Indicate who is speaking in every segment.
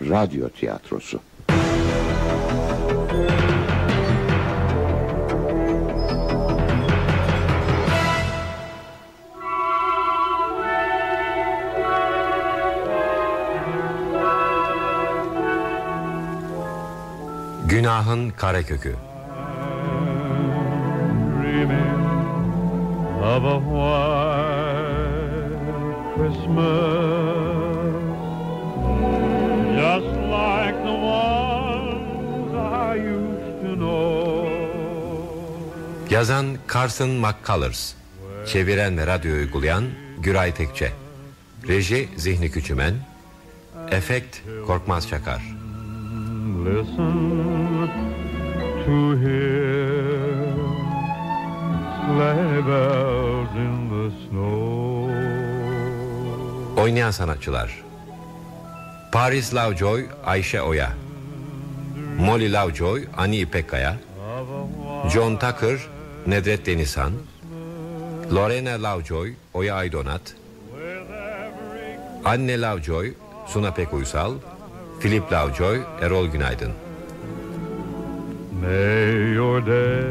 Speaker 1: Radyo tiyatrosu.
Speaker 2: Günahın Karekökü
Speaker 3: dreaming of a white Christmas, just like the ones I used to know.
Speaker 2: Yazan Carson McCullers Çeviren ve radyo uygulayan Güray Tekçe Reji Zihni Küçümen Efekt Korkmaz Çakar
Speaker 3: Listen to hear sleigh bells in the snow.
Speaker 2: Oynayan sanatçılar Paris Lovejoy Ayşe Oya Molly Lovejoy Ani İpekkaya John Tucker Nedret Denizhan Lorena Lovejoy Oya Aydonat Anne Lovejoy Suna Pek Uysal Philip Lovejoy Erol Günaydın
Speaker 3: May your days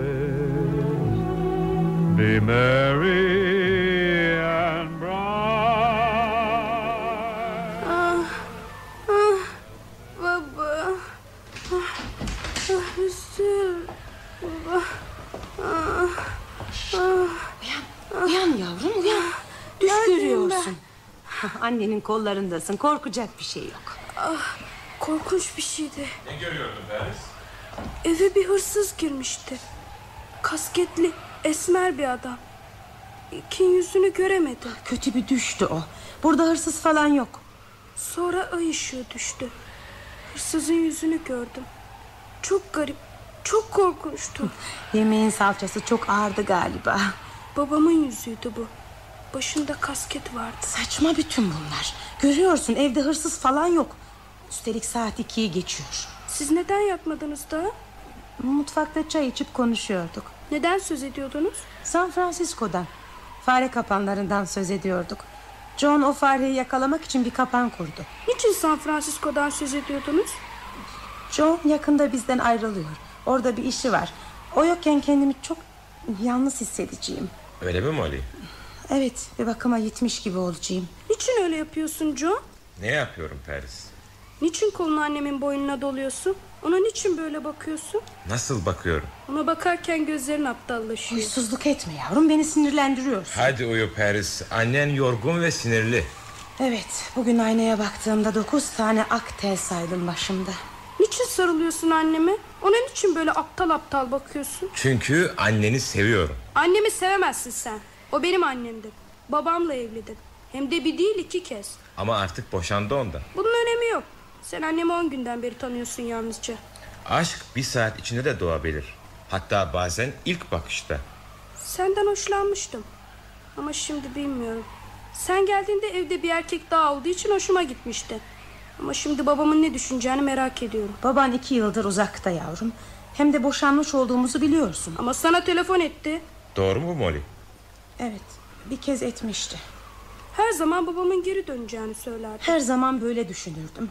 Speaker 3: be merry and bright.
Speaker 4: Baba. Ah, ah, Üstüm. Baba.
Speaker 5: Uyan yavrum uyan. Düş
Speaker 4: Neredeyim
Speaker 5: görüyorsun. Annenin kollarındasın korkacak bir şey yok.
Speaker 4: Korkunç bir şeydi. Ne görüyordun Deniz? Eve bir hırsız girmişti. Kasketli, esmer bir adam. İkin yüzünü göremedi.
Speaker 5: Kötü bir düştü o. Burada hırsız falan yok.
Speaker 4: Sonra ay ışığı düştü. Hırsızın yüzünü gördüm. Çok garip, çok korkunçtu.
Speaker 5: Yemeğin salçası çok ağırdı galiba.
Speaker 4: Babamın yüzüydü bu. Başında kasket vardı.
Speaker 5: Saçma bütün bunlar. Görüyorsun evde hırsız falan yok. Üstelik saat ikiyi geçiyor.
Speaker 4: Siz neden yatmadınız daha?
Speaker 5: Mutfakta çay içip konuşuyorduk.
Speaker 4: Neden söz ediyordunuz?
Speaker 5: San Francisco'dan. Fare kapanlarından söz ediyorduk. John o fareyi yakalamak için bir kapan kurdu.
Speaker 4: Niçin San Francisco'dan söz ediyordunuz?
Speaker 5: John yakında bizden ayrılıyor. Orada bir işi var. O yokken kendimi çok yalnız hissedeceğim.
Speaker 2: Öyle mi Molly?
Speaker 5: Evet bir bakıma yitmiş gibi olacağım.
Speaker 4: Niçin öyle yapıyorsun Joe?
Speaker 2: Ne yapıyorum Paris?
Speaker 4: Niçin kolunu annemin boynuna doluyorsun? Ona niçin böyle bakıyorsun?
Speaker 2: Nasıl bakıyorum?
Speaker 4: Ona bakarken gözlerin aptallaşıyor.
Speaker 5: Huysuzluk etme yavrum beni sinirlendiriyorsun.
Speaker 2: Hadi uyu Paris. Annen yorgun ve sinirli.
Speaker 5: Evet bugün aynaya baktığımda dokuz tane ak tel saydım başımda.
Speaker 4: Niçin sarılıyorsun anneme? Ona niçin böyle aptal aptal bakıyorsun?
Speaker 2: Çünkü anneni seviyorum.
Speaker 4: Annemi sevemezsin sen. O benim annemdir. Babamla evlidir. Hem de bir değil iki kez.
Speaker 2: Ama artık boşandı ondan.
Speaker 4: Bunun önemi yok. Sen annemi on günden beri tanıyorsun yalnızca.
Speaker 2: Aşk bir saat içinde de doğabilir. Hatta bazen ilk bakışta.
Speaker 4: Senden hoşlanmıştım. Ama şimdi bilmiyorum. Sen geldiğinde evde bir erkek daha olduğu için hoşuma gitmişti. Ama şimdi babamın ne düşüneceğini merak ediyorum.
Speaker 5: Baban iki yıldır uzakta yavrum. Hem de boşanmış olduğumuzu biliyorsun.
Speaker 4: Ama sana telefon etti.
Speaker 2: Doğru mu Molly?
Speaker 5: Evet bir kez etmişti.
Speaker 4: Her zaman babamın geri döneceğini söylerdi.
Speaker 5: Her zaman böyle düşünürdüm.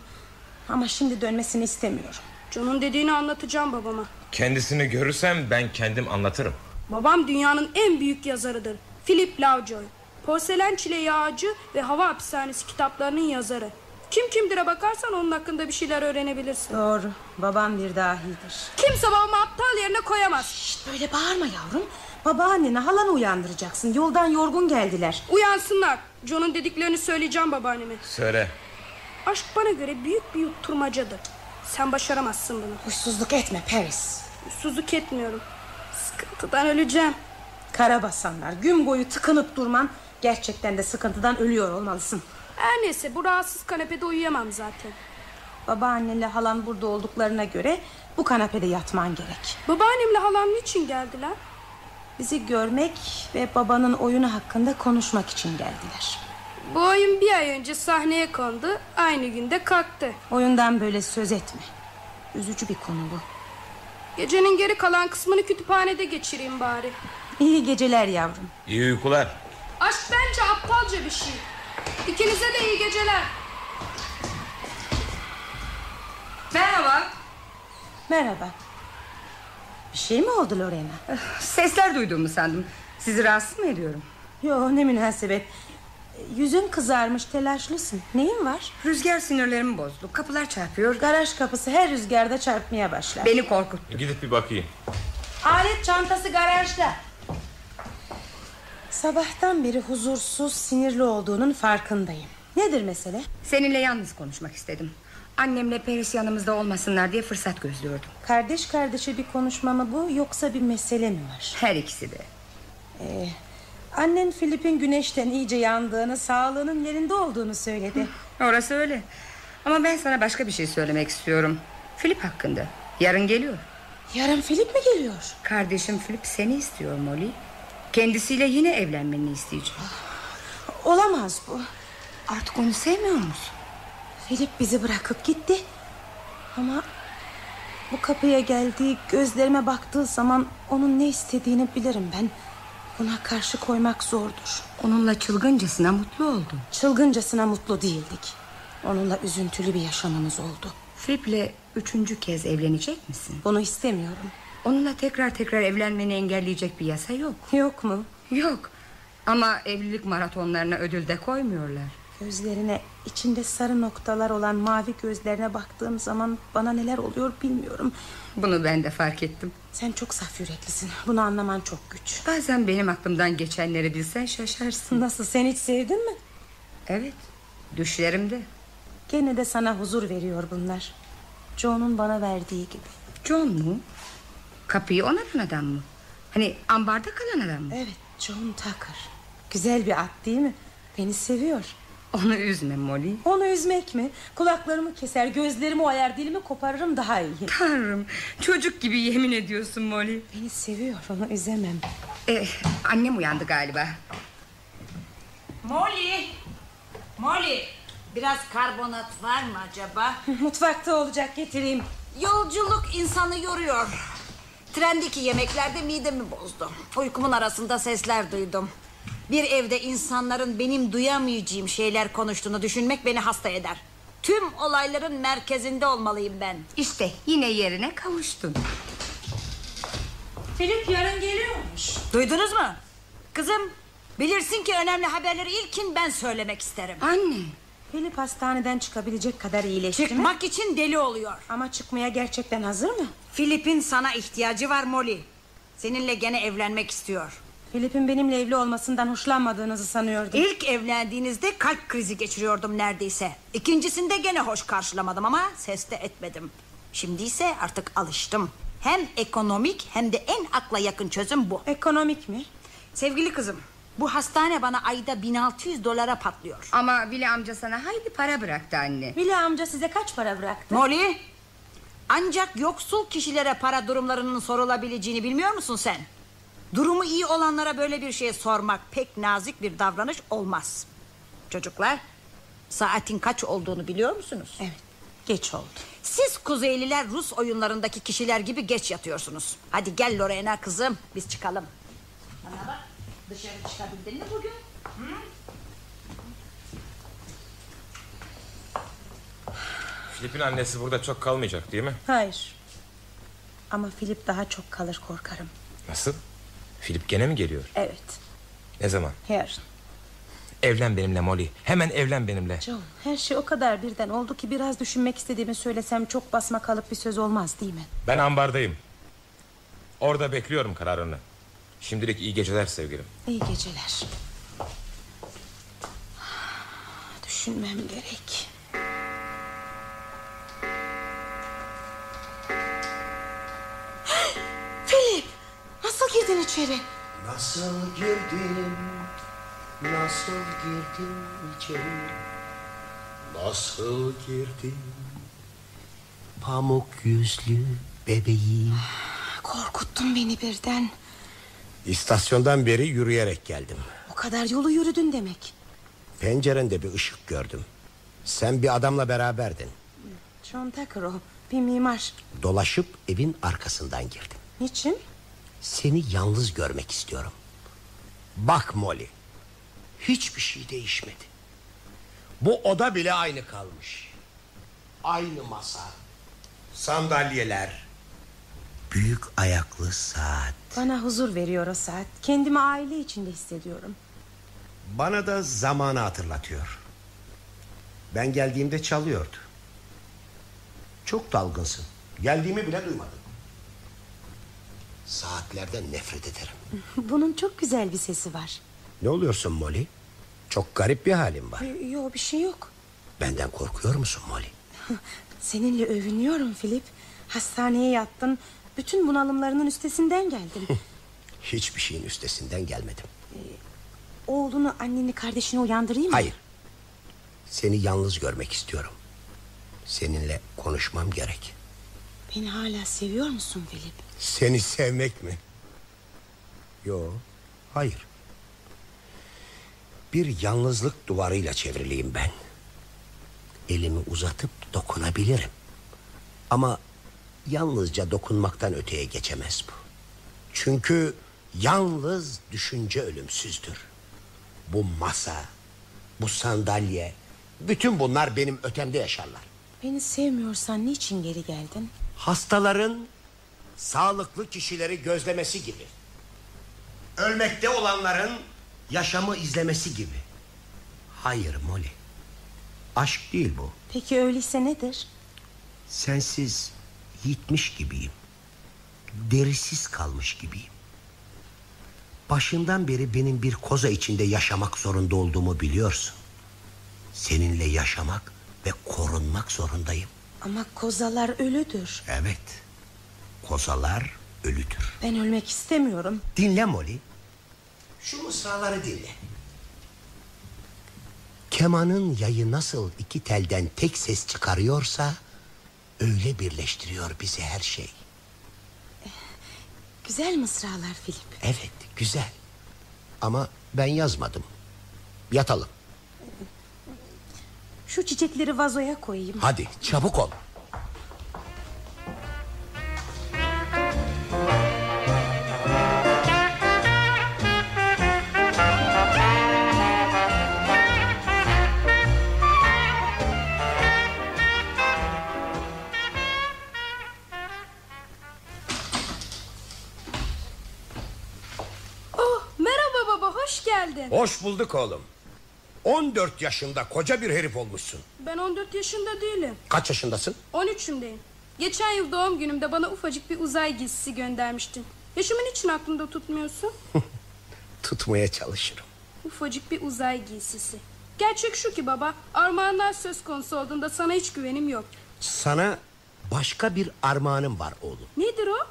Speaker 5: Ama şimdi dönmesini istemiyorum.
Speaker 4: John'un dediğini anlatacağım babama.
Speaker 6: Kendisini görürsem ben kendim anlatırım.
Speaker 4: Babam dünyanın en büyük yazarıdır. Philip Lovejoy. Porselen Çileği Ağacı ve Hava Hapishanesi kitaplarının yazarı. Kim kimdire bakarsan onun hakkında bir şeyler öğrenebilirsin.
Speaker 5: Doğru baban bir dahidir.
Speaker 4: Kimse babamı aptal yerine koyamaz.
Speaker 5: Şşt böyle bağırma yavrum. Babaannene halanı uyandıracaksın. Yoldan yorgun geldiler.
Speaker 4: Uyansınlar. John'un dediklerini söyleyeceğim babaanneme.
Speaker 6: Söyle.
Speaker 4: Aşk bana göre büyük bir yutturmacadır. Sen başaramazsın bunu.
Speaker 5: Huysuzluk etme Paris.
Speaker 4: Huysuzluk etmiyorum. Sıkıntıdan öleceğim.
Speaker 5: Karabasanlar gün boyu tıkınıp durman gerçekten de sıkıntıdan ölüyor olmalısın.
Speaker 4: Her neyse bu rahatsız kanepede uyuyamam zaten.
Speaker 5: Babaannenle halan burada olduklarına göre bu kanapede yatman gerek.
Speaker 4: Babaannemle halam niçin geldiler?
Speaker 5: Bizi görmek ve babanın oyunu hakkında konuşmak için geldiler.
Speaker 4: Bu oyun bir ay önce sahneye kondu. Aynı günde kalktı.
Speaker 5: Oyundan böyle söz etme. Üzücü bir konu bu.
Speaker 4: Gecenin geri kalan kısmını kütüphanede geçireyim bari.
Speaker 5: İyi geceler yavrum.
Speaker 6: İyi uykular.
Speaker 4: Aşk bence aptalca bir şey. İkinize de iyi geceler. Merhaba.
Speaker 5: Merhaba. Bir şey mi oldu Lorena?
Speaker 7: Sesler duyduğumu sandım. Sizi rahatsız mı ediyorum?
Speaker 5: Yo ne münasebet. Yüzün kızarmış telaşlısın. Neyin var?
Speaker 7: Rüzgar sinirlerimi bozdu. Kapılar çarpıyor.
Speaker 5: Garaj kapısı her rüzgarda çarpmaya başlar.
Speaker 7: Beni korkut.
Speaker 6: Gidip bir bakayım.
Speaker 5: Alet çantası garajda. Sabahtan beri huzursuz, sinirli olduğunun farkındayım. Nedir mesele?
Speaker 7: Seninle yalnız konuşmak istedim. Annemle Paris yanımızda olmasınlar diye fırsat gözlüyordum.
Speaker 5: Kardeş kardeşe bir konuşma mı bu yoksa bir mesele mi var?
Speaker 7: Her ikisi de.
Speaker 5: Ee, annen Filip'in güneşten iyice yandığını, sağlığının yerinde olduğunu söyledi.
Speaker 7: Orası öyle. Ama ben sana başka bir şey söylemek istiyorum. Filip hakkında. Yarın geliyor.
Speaker 5: Yarın Filip mi geliyor?
Speaker 7: Kardeşim Filip seni istiyor Molly. Kendisiyle yine evlenmeni isteyecek.
Speaker 5: Olamaz bu.
Speaker 7: Artık onu sevmiyor musun?
Speaker 5: Filip bizi bırakıp gitti. Ama bu kapıya geldiği, gözlerime baktığı zaman onun ne istediğini bilirim ben. Buna karşı koymak zordur.
Speaker 7: Onunla çılgıncasına mutlu oldun.
Speaker 5: Çılgıncasına mutlu değildik. Onunla üzüntülü bir yaşamımız oldu.
Speaker 7: Filip'le üçüncü kez evlenecek misin?
Speaker 5: Bunu istemiyorum.
Speaker 7: Onunla tekrar tekrar evlenmeni engelleyecek bir yasa yok.
Speaker 5: Yok mu?
Speaker 7: Yok. Ama evlilik maratonlarına ödül de koymuyorlar.
Speaker 5: Gözlerine içinde sarı noktalar olan mavi gözlerine baktığım zaman bana neler oluyor bilmiyorum.
Speaker 7: Bunu ben de fark ettim.
Speaker 5: Sen çok saf yüreklisin. Bunu anlaman çok güç.
Speaker 7: Bazen benim aklımdan geçenleri bilsen şaşarsın.
Speaker 5: Nasıl sen hiç sevdin mi?
Speaker 7: Evet. Düşlerimde.
Speaker 5: Gene de sana huzur veriyor bunlar. Joe'nun bana verdiği gibi.
Speaker 7: John mu? Kapıyı onaran adam mı? Hani ambarda kalan adam mı?
Speaker 5: Evet John Tucker. Güzel bir at değil mi? Beni seviyor.
Speaker 7: Onu üzme Molly.
Speaker 5: Onu üzmek mi? Kulaklarımı keser, gözlerimi oyar, dilimi koparırım daha iyi.
Speaker 7: Tanrım çocuk gibi yemin ediyorsun Molly.
Speaker 5: Beni seviyor, onu üzemem.
Speaker 7: Eh, annem uyandı galiba.
Speaker 8: Molly! Molly! Biraz karbonat var mı acaba?
Speaker 5: Mutfakta olacak, getireyim.
Speaker 8: Yolculuk insanı yoruyor. Trendeki yemeklerde midemi bozdu. Uykumun arasında sesler duydum. Bir evde insanların benim duyamayacağım şeyler konuştuğunu düşünmek beni hasta eder. Tüm olayların merkezinde olmalıyım ben.
Speaker 7: İşte yine yerine kavuştun.
Speaker 8: Filip yarın geliyormuş. Duydunuz mu? Kızım bilirsin ki önemli haberleri ilkin ben söylemek isterim.
Speaker 7: Anne.
Speaker 5: Philip hastaneden çıkabilecek kadar iyileşti mi?
Speaker 8: Çıkmak için deli oluyor.
Speaker 5: Ama çıkmaya gerçekten hazır mı?
Speaker 8: Filip'in sana ihtiyacı var Molly. Seninle gene evlenmek istiyor.
Speaker 5: Philip'in benimle evli olmasından hoşlanmadığınızı sanıyordum.
Speaker 8: İlk evlendiğinizde kalp krizi geçiriyordum neredeyse. İkincisinde gene hoş karşılamadım ama ses de etmedim. Şimdi ise artık alıştım. Hem ekonomik hem de en akla yakın çözüm bu.
Speaker 5: Ekonomik mi?
Speaker 8: Sevgili kızım, bu hastane bana ayda 1600 dolara patlıyor.
Speaker 7: Ama Vili amca sana haydi para bıraktı anne.
Speaker 5: Vili amca size kaç para bıraktı?
Speaker 8: Molly, ancak yoksul kişilere para durumlarının sorulabileceğini bilmiyor musun sen? Durumu iyi olanlara böyle bir şey sormak pek nazik bir davranış olmaz. Çocuklar, saatin kaç olduğunu biliyor musunuz?
Speaker 5: Evet, geç oldu.
Speaker 8: Siz Kuzeyliler Rus oyunlarındaki kişiler gibi geç yatıyorsunuz. Hadi gel Lorena kızım, biz çıkalım. Bana bak, dışarı çıkabildin mi bugün?
Speaker 6: Filip'in annesi burada çok kalmayacak değil mi?
Speaker 5: Hayır. Ama Philip daha çok kalır korkarım.
Speaker 6: Nasıl? Filip gene mi geliyor?
Speaker 5: Evet,
Speaker 6: Ne zaman?
Speaker 5: yarın.
Speaker 6: Evlen benimle Molly. Hemen evlen benimle.
Speaker 5: John, her şey o kadar birden oldu ki biraz düşünmek istediğimi söylesem çok basma kalıp bir söz olmaz değil mi?
Speaker 6: Ben ambardayım. Orada bekliyorum kararını. Şimdilik iyi geceler sevgilim.
Speaker 5: İyi geceler. Düşünmem gerek. Filip! Nasıl girdin içeri?
Speaker 2: Nasıl girdim, nasıl girdim içeri, nasıl girdim pamuk yüzlü bebeğim.
Speaker 5: Korkuttun beni birden.
Speaker 2: İstasyondan beri yürüyerek geldim.
Speaker 5: O kadar yolu yürüdün demek.
Speaker 2: Pencerende bir ışık gördüm. Sen bir adamla beraberdin.
Speaker 5: John Tucker o. Bir mimar.
Speaker 2: Dolaşıp evin arkasından girdim.
Speaker 5: Niçin?
Speaker 2: Seni yalnız görmek istiyorum. Bak Molly. Hiçbir şey değişmedi. Bu oda bile aynı kalmış. Aynı masa. Sandalyeler. Büyük ayaklı saat.
Speaker 5: Bana huzur veriyor o saat. Kendimi aile içinde hissediyorum.
Speaker 2: Bana da zamanı hatırlatıyor. Ben geldiğimde çalıyordu. Çok dalgınsın. Geldiğimi bile duymadın. Saatlerden nefret ederim.
Speaker 5: Bunun çok güzel bir sesi var.
Speaker 2: Ne oluyorsun Molly? Çok garip bir halin var.
Speaker 5: Yok bir şey yok.
Speaker 2: Benden korkuyor musun Molly?
Speaker 5: Seninle övünüyorum Filip. Hastaneye yattın. Bütün bunalımlarının üstesinden geldim.
Speaker 2: Hiçbir şeyin üstesinden gelmedim.
Speaker 5: Oğlunu, anneni, kardeşini uyandırayım mı?
Speaker 2: Hayır. Seni yalnız görmek istiyorum. Seninle konuşmam gerek.
Speaker 5: Beni hala seviyor musun Filip?
Speaker 2: Seni sevmek mi? Yo, hayır. Bir yalnızlık duvarıyla çevriliyim ben. Elimi uzatıp dokunabilirim. Ama yalnızca dokunmaktan öteye geçemez bu. Çünkü yalnız düşünce ölümsüzdür. Bu masa, bu sandalye, bütün bunlar benim ötemde yaşarlar.
Speaker 5: Beni sevmiyorsan niçin geri geldin?
Speaker 2: hastaların sağlıklı kişileri gözlemesi gibi. Ölmekte olanların yaşamı izlemesi gibi. Hayır Molly. Aşk değil bu.
Speaker 5: Peki öyleyse nedir?
Speaker 2: Sensiz yitmiş gibiyim. Derisiz kalmış gibiyim. Başından beri benim bir koza içinde yaşamak zorunda olduğumu biliyorsun. Seninle yaşamak ve korunmak zorundayım.
Speaker 5: Ama kozalar ölüdür.
Speaker 2: Evet. Kozalar ölüdür.
Speaker 5: Ben ölmek istemiyorum.
Speaker 2: Dinle Molly. Şu mısraları dinle. Kemanın yayı nasıl iki telden tek ses çıkarıyorsa... ...öyle birleştiriyor bizi her şey.
Speaker 5: Güzel mısralar Filip.
Speaker 2: Evet, güzel. Ama ben yazmadım. Yatalım.
Speaker 5: Şu çiçekleri vazoya koyayım.
Speaker 2: Hadi çabuk ol.
Speaker 4: Oh, merhaba baba, hoş geldin.
Speaker 2: Hoş bulduk oğlum. 14 yaşında koca bir herif olmuşsun.
Speaker 4: Ben 14 yaşında değilim,
Speaker 2: Kaç yaşındasın?
Speaker 4: 13'ümdeyim. Geçen yıl doğum günümde bana ufacık bir uzay giysisi göndermiştin. Yaşımın için aklında tutmuyorsun?
Speaker 2: Tutmaya çalışırım.
Speaker 4: Ufacık bir uzay giysisi. Gerçek şu ki baba, armağanlar söz konusu olduğunda sana hiç güvenim yok.
Speaker 2: Sana başka bir armağanım var oğlum.
Speaker 4: Nedir o?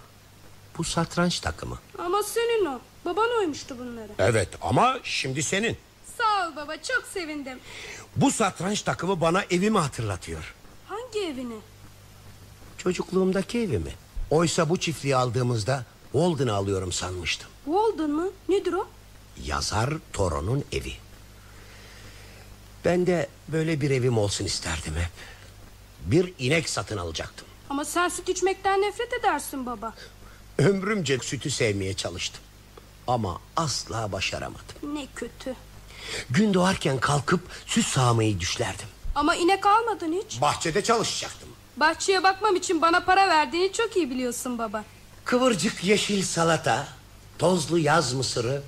Speaker 2: Bu satranç takımı.
Speaker 4: Ama senin o. Baban oymuştu bunları.
Speaker 2: Evet ama şimdi senin.
Speaker 4: Sağ ol baba, çok sevindim.
Speaker 2: Bu satranç takımı bana evimi hatırlatıyor.
Speaker 4: Hangi evini?
Speaker 2: Çocukluğumdaki evimi. Oysa bu çiftliği aldığımızda Walden'ı alıyorum sanmıştım.
Speaker 4: Walden mı? Nedir o?
Speaker 2: Yazar Toron'un evi. Ben de böyle bir evim olsun isterdim hep. Bir inek satın alacaktım.
Speaker 4: Ama sen süt içmekten nefret edersin baba.
Speaker 2: Ömrümce sütü sevmeye çalıştım. Ama asla başaramadım.
Speaker 4: Ne kötü.
Speaker 2: Gün doğarken kalkıp süt sağmayı düşlerdim.
Speaker 4: Ama inek almadın hiç.
Speaker 2: Bahçede çalışacaktım.
Speaker 4: Bahçeye bakmam için bana para verdiğini çok iyi biliyorsun baba.
Speaker 2: Kıvırcık yeşil salata, tozlu yaz mısırı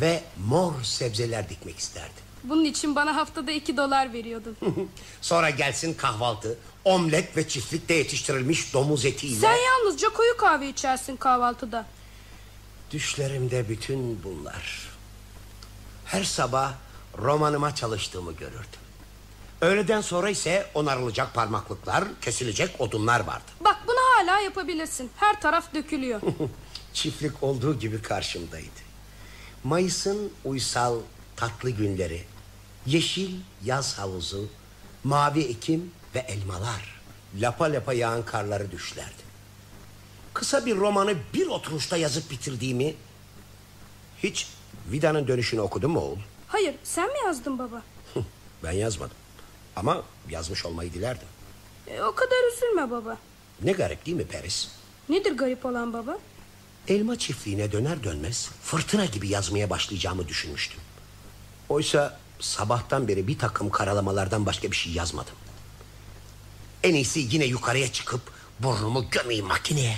Speaker 2: ve mor sebzeler dikmek isterdim.
Speaker 4: Bunun için bana haftada iki dolar veriyordun.
Speaker 2: Sonra gelsin kahvaltı, omlet ve çiftlikte yetiştirilmiş domuz etiyle.
Speaker 4: sen yalnızca koyu kahve içersin kahvaltıda.
Speaker 2: Düşlerimde bütün bunlar. Her sabah romanıma çalıştığımı görürdüm. Öğleden sonra ise onarılacak parmaklıklar, kesilecek odunlar vardı.
Speaker 4: Bak bunu hala yapabilirsin. Her taraf dökülüyor.
Speaker 2: Çiftlik olduğu gibi karşımdaydı. Mayıs'ın uysal tatlı günleri, yeşil yaz havuzu, mavi ekim ve elmalar, lapa lapa yağan karları düşlerdi. Kısa bir romanı bir oturuşta yazıp bitirdiğimi... Hiç Vida'nın dönüşünü okudun mu oğul?
Speaker 4: Hayır sen mi yazdın baba?
Speaker 2: Ben yazmadım. Ama yazmış olmayı dilerdim.
Speaker 4: E, o kadar üzülme baba.
Speaker 2: Ne garip değil mi Paris?
Speaker 4: Nedir garip olan baba?
Speaker 2: Elma çiftliğine döner dönmez fırtına gibi yazmaya başlayacağımı düşünmüştüm. Oysa sabahtan beri bir takım karalamalardan başka bir şey yazmadım. En iyisi yine yukarıya çıkıp burnumu gömeyim makineye.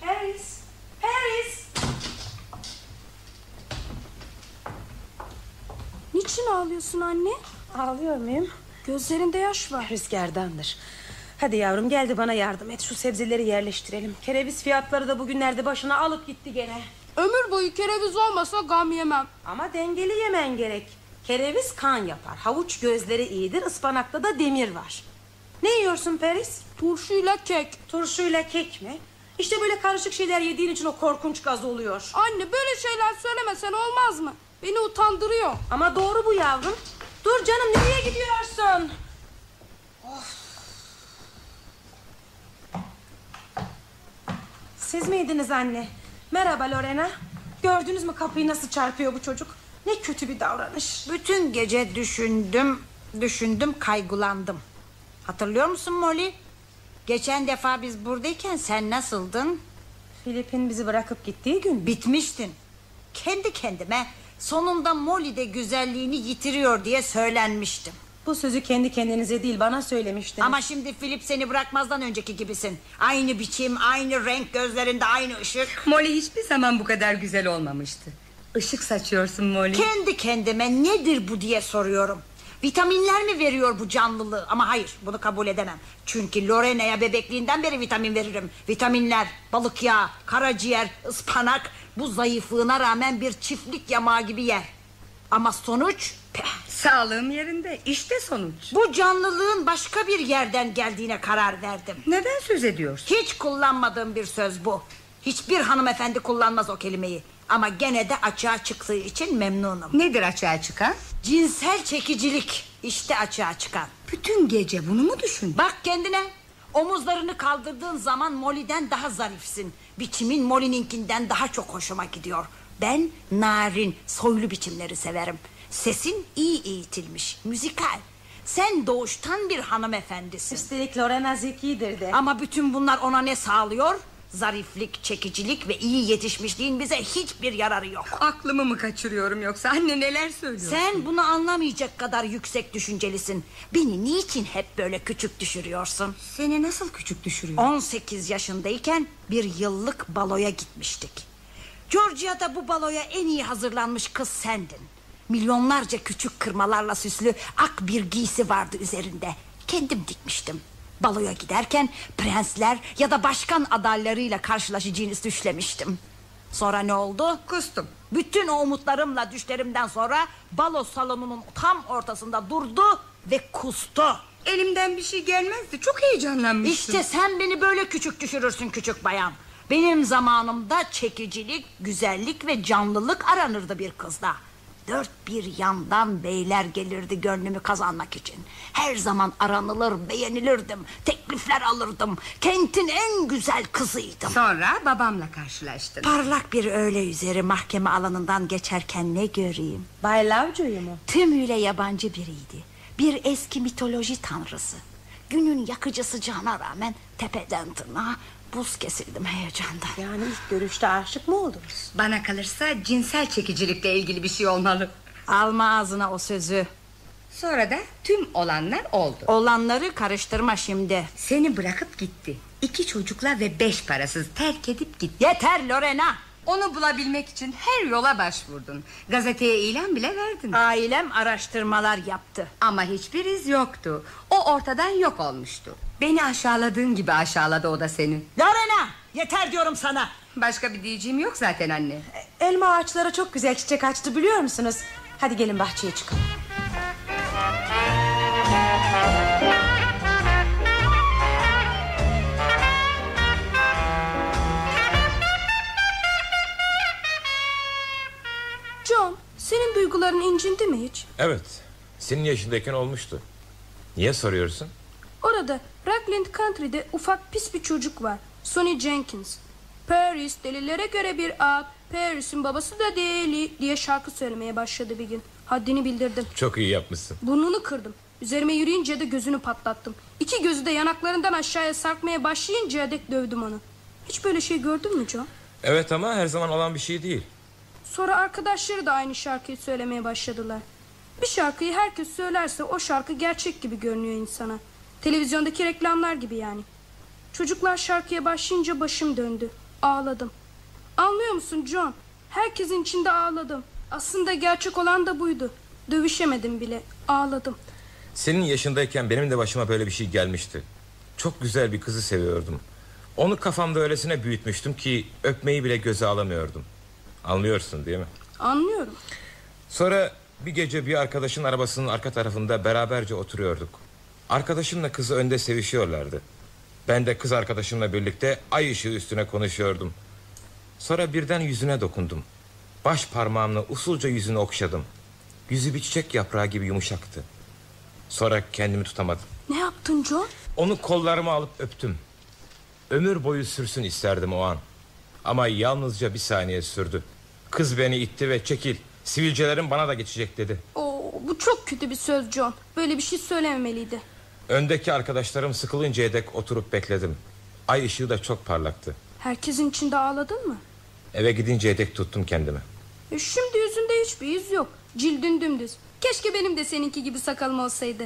Speaker 4: Paris! Paris! Niçin ağlıyorsun anne?
Speaker 5: Ağlıyor muyum?
Speaker 4: Gözlerinde yaş var.
Speaker 5: Rüzgardandır. Hadi yavrum gel de bana yardım et. Şu sebzeleri yerleştirelim. Kereviz fiyatları da bugünlerde başına alıp gitti gene.
Speaker 4: Ömür boyu kereviz olmasa gam yemem.
Speaker 5: Ama dengeli yemen gerek. Kereviz kan yapar. Havuç gözleri iyidir. Ispanakta da demir var. Ne yiyorsun Peris?
Speaker 4: Turşuyla kek.
Speaker 5: Turşuyla kek mi? İşte böyle karışık şeyler yediğin için o korkunç gaz oluyor.
Speaker 4: Anne böyle şeyler söylemesen olmaz mı? Beni utandırıyor.
Speaker 5: Ama doğru bu yavrum. Dur canım nereye gidiyorsun? Of. Siz miydiniz anne? Merhaba Lorena. Gördünüz mü kapıyı nasıl çarpıyor bu çocuk? Ne kötü bir davranış.
Speaker 8: Bütün gece düşündüm, düşündüm, kaygılandım. Hatırlıyor musun Molly? Geçen defa biz buradayken sen nasıldın?
Speaker 5: Filip'in bizi bırakıp gittiği gün
Speaker 8: Bitmiştin. Kendi kendime sonunda Molly de güzelliğini yitiriyor diye söylenmiştim.
Speaker 5: bu sözü kendi kendinize değil bana söylemiştiniz.
Speaker 8: Ama şimdi Philip seni bırakmazdan önceki gibisin. Aynı biçim, aynı renk gözlerinde, aynı ışık.
Speaker 7: Molly hiçbir zaman bu kadar güzel olmamıştı. Işık saçıyorsun Molly.
Speaker 8: Kendi kendime nedir bu diye soruyorum. Vitaminler mi veriyor bu canlılığı? Ama hayır bunu kabul edemem. Çünkü Lorena'ya bebekliğinden beri vitamin veririm. Vitaminler, balık yağı, karaciğer, ıspanak bu zayıflığına rağmen bir çiftlik yamağı gibi yer. Ama sonuç peh,
Speaker 7: Sağlığım yerinde. İşte sonuç.
Speaker 8: bu canlılığın başka bir yerden geldiğine karar verdim.
Speaker 7: Neden söz ediyorsun?
Speaker 8: Hiç kullanmadığım bir söz bu. Hiçbir hanımefendi kullanmaz o kelimeyi. Ama gene de açığa çıktığı için memnunum.
Speaker 7: Nedir açığa çıkan?
Speaker 8: Cinsel çekicilik işte açığa çıkan.
Speaker 7: Bütün gece bunu mu düşün?
Speaker 8: Bak kendine. Omuzlarını kaldırdığın zaman Molly'den daha zarifsin. Biçimin Molly'ninkinden daha çok hoşuma gidiyor. Ben narin, soylu biçimleri severim. Sesin iyi eğitilmiş, müzikal. Sen doğuştan bir hanımefendisin.
Speaker 5: Üstelik Lorena zekidir de.
Speaker 8: Ama bütün bunlar ona ne sağlıyor? Zariflik, çekicilik ve iyi yetişmişliğin bize hiçbir yararı yok.
Speaker 7: Aklımı mı kaçırıyorum yoksa? Anne neler söylüyor?
Speaker 8: Sen bunu anlamayacak kadar yüksek düşüncelisin. Beni niçin hep böyle küçük düşürüyorsun?
Speaker 7: Seni nasıl küçük düşürüyor?
Speaker 8: 18 yaşındayken bir yıllık baloya gitmiştik. Georgia'da bu baloya en iyi hazırlanmış kız sendin. Milyonlarca küçük kırmalarla süslü ak bir giysi vardı üzerinde. Kendim dikmiştim. Baloya giderken prensler ya da başkan adaylarıyla karşılaşacağını düşlemiştim. Sonra ne oldu?
Speaker 7: Kustum.
Speaker 8: Bütün o umutlarımla düşlerimden sonra balo salonunun tam ortasında durdu ve kustu.
Speaker 7: Elimden bir şey gelmezdi. Çok heyecanlanmıştım.
Speaker 8: İşte sen beni böyle küçük düşürürsün küçük bayan. Benim zamanımda çekicilik, güzellik ve canlılık aranırdı bir kızda. Dört bir yandan beyler gelirdi gönlümü kazanmak için. Her zaman aranılır, beğenilirdim. Teklifler alırdım. Kentin en güzel kızıydım.
Speaker 7: Sonra babamla karşılaştın.
Speaker 8: Parlak bir öğle üzeri mahkeme alanından geçerken ne göreyim?
Speaker 5: Bay Lovejoy'u mu?
Speaker 8: Tümüyle yabancı biriydi. Bir eski mitoloji tanrısı. Günün yakıcı sıcağına rağmen tepeden tırnağa buz kesildim heyecandan.
Speaker 5: Yani ilk görüşte aşık mı oldunuz?
Speaker 7: Bana kalırsa cinsel çekicilikle ilgili bir şey olmalı.
Speaker 8: Alma ağzına o sözü.
Speaker 7: Sonra da tüm olanlar oldu.
Speaker 8: Olanları karıştırma şimdi.
Speaker 7: Seni bırakıp gitti. İki çocukla ve beş parasız terk edip gitti.
Speaker 8: Yeter Lorena.
Speaker 9: Onu bulabilmek için her yola başvurdun. Gazeteye ilan bile verdin.
Speaker 8: Ailem araştırmalar yaptı.
Speaker 9: Ama hiçbir iz yoktu. O ortadan yok olmuştu. Beni aşağıladığın gibi aşağıladı o da seni.
Speaker 8: Lorena yeter diyorum sana.
Speaker 9: Başka bir diyeceğim yok zaten anne.
Speaker 5: Elma ağaçlara çok güzel çiçek açtı biliyor musunuz? Hadi gelin bahçeye çıkalım.
Speaker 4: John senin duyguların incindi mi hiç?
Speaker 10: Evet. Senin yaşındayken olmuştu. Niye soruyorsun?
Speaker 4: Orada Rockland Country'de ufak pis bir çocuk var. Sonny Jenkins. Paris delilere göre bir ağ. Paris'in babası da deli diye şarkı söylemeye başladı bir gün. Haddini bildirdim.
Speaker 10: Çok iyi yapmışsın.
Speaker 4: Burnunu kırdım. Üzerime yürüyünce de gözünü patlattım. İki gözü de yanaklarından aşağıya sarkmaya başlayınca dek dövdüm onu. Hiç böyle şey gördün mü John?
Speaker 10: Evet ama her zaman olan bir şey değil.
Speaker 4: Sonra arkadaşları da aynı şarkıyı söylemeye başladılar. Bir şarkıyı herkes söylerse o şarkı gerçek gibi görünüyor insana. Televizyondaki reklamlar gibi yani. Çocuklar şarkıya başlayınca başım döndü. Ağladım. Anlıyor musun John? Herkesin içinde ağladım. Aslında gerçek olan da buydu. Dövüşemedim bile. Ağladım.
Speaker 10: Senin yaşındayken benim de başıma böyle bir şey gelmişti. Çok güzel bir kızı seviyordum. Onu kafamda öylesine büyütmüştüm ki öpmeyi bile göze alamıyordum. Anlıyorsun değil mi?
Speaker 4: Anlıyorum.
Speaker 10: Sonra bir gece bir arkadaşın arabasının arka tarafında beraberce oturuyorduk. Arkadaşımla kızı önde sevişiyorlardı. Ben de kız arkadaşımla birlikte ay ışığı üstüne konuşuyordum. Sonra birden yüzüne dokundum. Baş parmağımla usulca yüzünü okşadım. Yüzü bir çiçek yaprağı gibi yumuşaktı. Sonra kendimi tutamadım.
Speaker 4: Ne yaptın John?
Speaker 10: Onu kollarıma alıp öptüm. Ömür boyu sürsün isterdim o an. Ama yalnızca bir saniye sürdü. Kız beni itti ve çekil. Sivilcelerim bana da geçecek dedi.
Speaker 4: Oo, bu çok kötü bir söz John. Böyle bir şey söylememeliydi.
Speaker 10: Öndeki arkadaşlarım sıkılıncaya dek oturup bekledim. Ay ışığı da çok parlaktı.
Speaker 4: Herkesin içinde ağladın mı?
Speaker 10: Eve gidinceye dek tuttum kendimi.
Speaker 4: E, Şimdi yüzünde hiçbir iz yok. Cildin dümdüz. Keşke benim de seninki gibi sakalım olsaydı.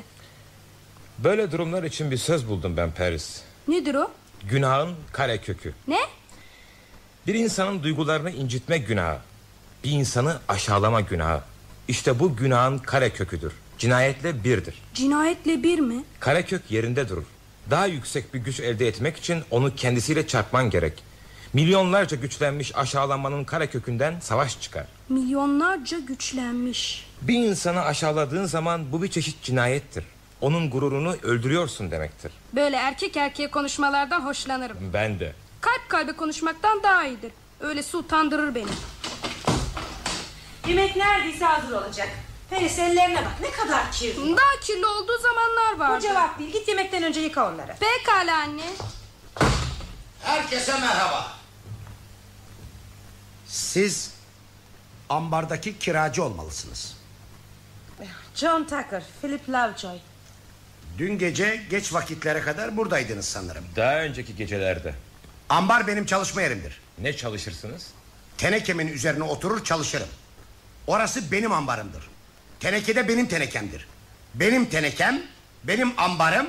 Speaker 10: Böyle durumlar için bir söz buldum ben Paris.
Speaker 4: Nedir o?
Speaker 10: Günahın kare kökü.
Speaker 4: Ne?
Speaker 10: Bir insanın duygularını incitme günahı. Bir insanı aşağılama günahı. İşte bu günahın kare köküdür. Cinayetle birdir.
Speaker 4: Cinayetle bir mi?
Speaker 10: Karakök yerinde durur. Daha yüksek bir güç elde etmek için onu kendisiyle çarpman gerek. Milyonlarca güçlenmiş aşağılanmanın karakökünden savaş çıkar.
Speaker 4: Milyonlarca güçlenmiş.
Speaker 10: Bir insanı aşağıladığın zaman bu bir çeşit cinayettir. Onun gururunu öldürüyorsun demektir.
Speaker 4: Böyle erkek erkeğe konuşmalardan hoşlanırım.
Speaker 10: Ben de.
Speaker 4: Kalp kalbe konuşmaktan daha iyidir. Öylesi utandırır beni.
Speaker 5: Yemek neredeyse hazır olacak. Feris ellerine bak ne kadar kirli.
Speaker 4: Daha kirli olduğu zamanlar
Speaker 5: Bu
Speaker 4: vardı.
Speaker 5: cevap değil git yemekten önce yıka onları.
Speaker 4: Pekala anne.
Speaker 7: Herkese merhaba. Siz ambardaki kiracı olmalısınız.
Speaker 5: John Tucker, Philip Lovejoy.
Speaker 7: Dün gece geç vakitlere kadar buradaydınız sanırım.
Speaker 10: Daha önceki gecelerde
Speaker 7: Ambar benim çalışma yerimdir.
Speaker 10: ne çalışırsınız?
Speaker 7: Tenekemin üzerine oturur çalışırım. Orası benim ambarımdır. Teneke de benim tenekemdir. Benim tenekem, benim ambarım,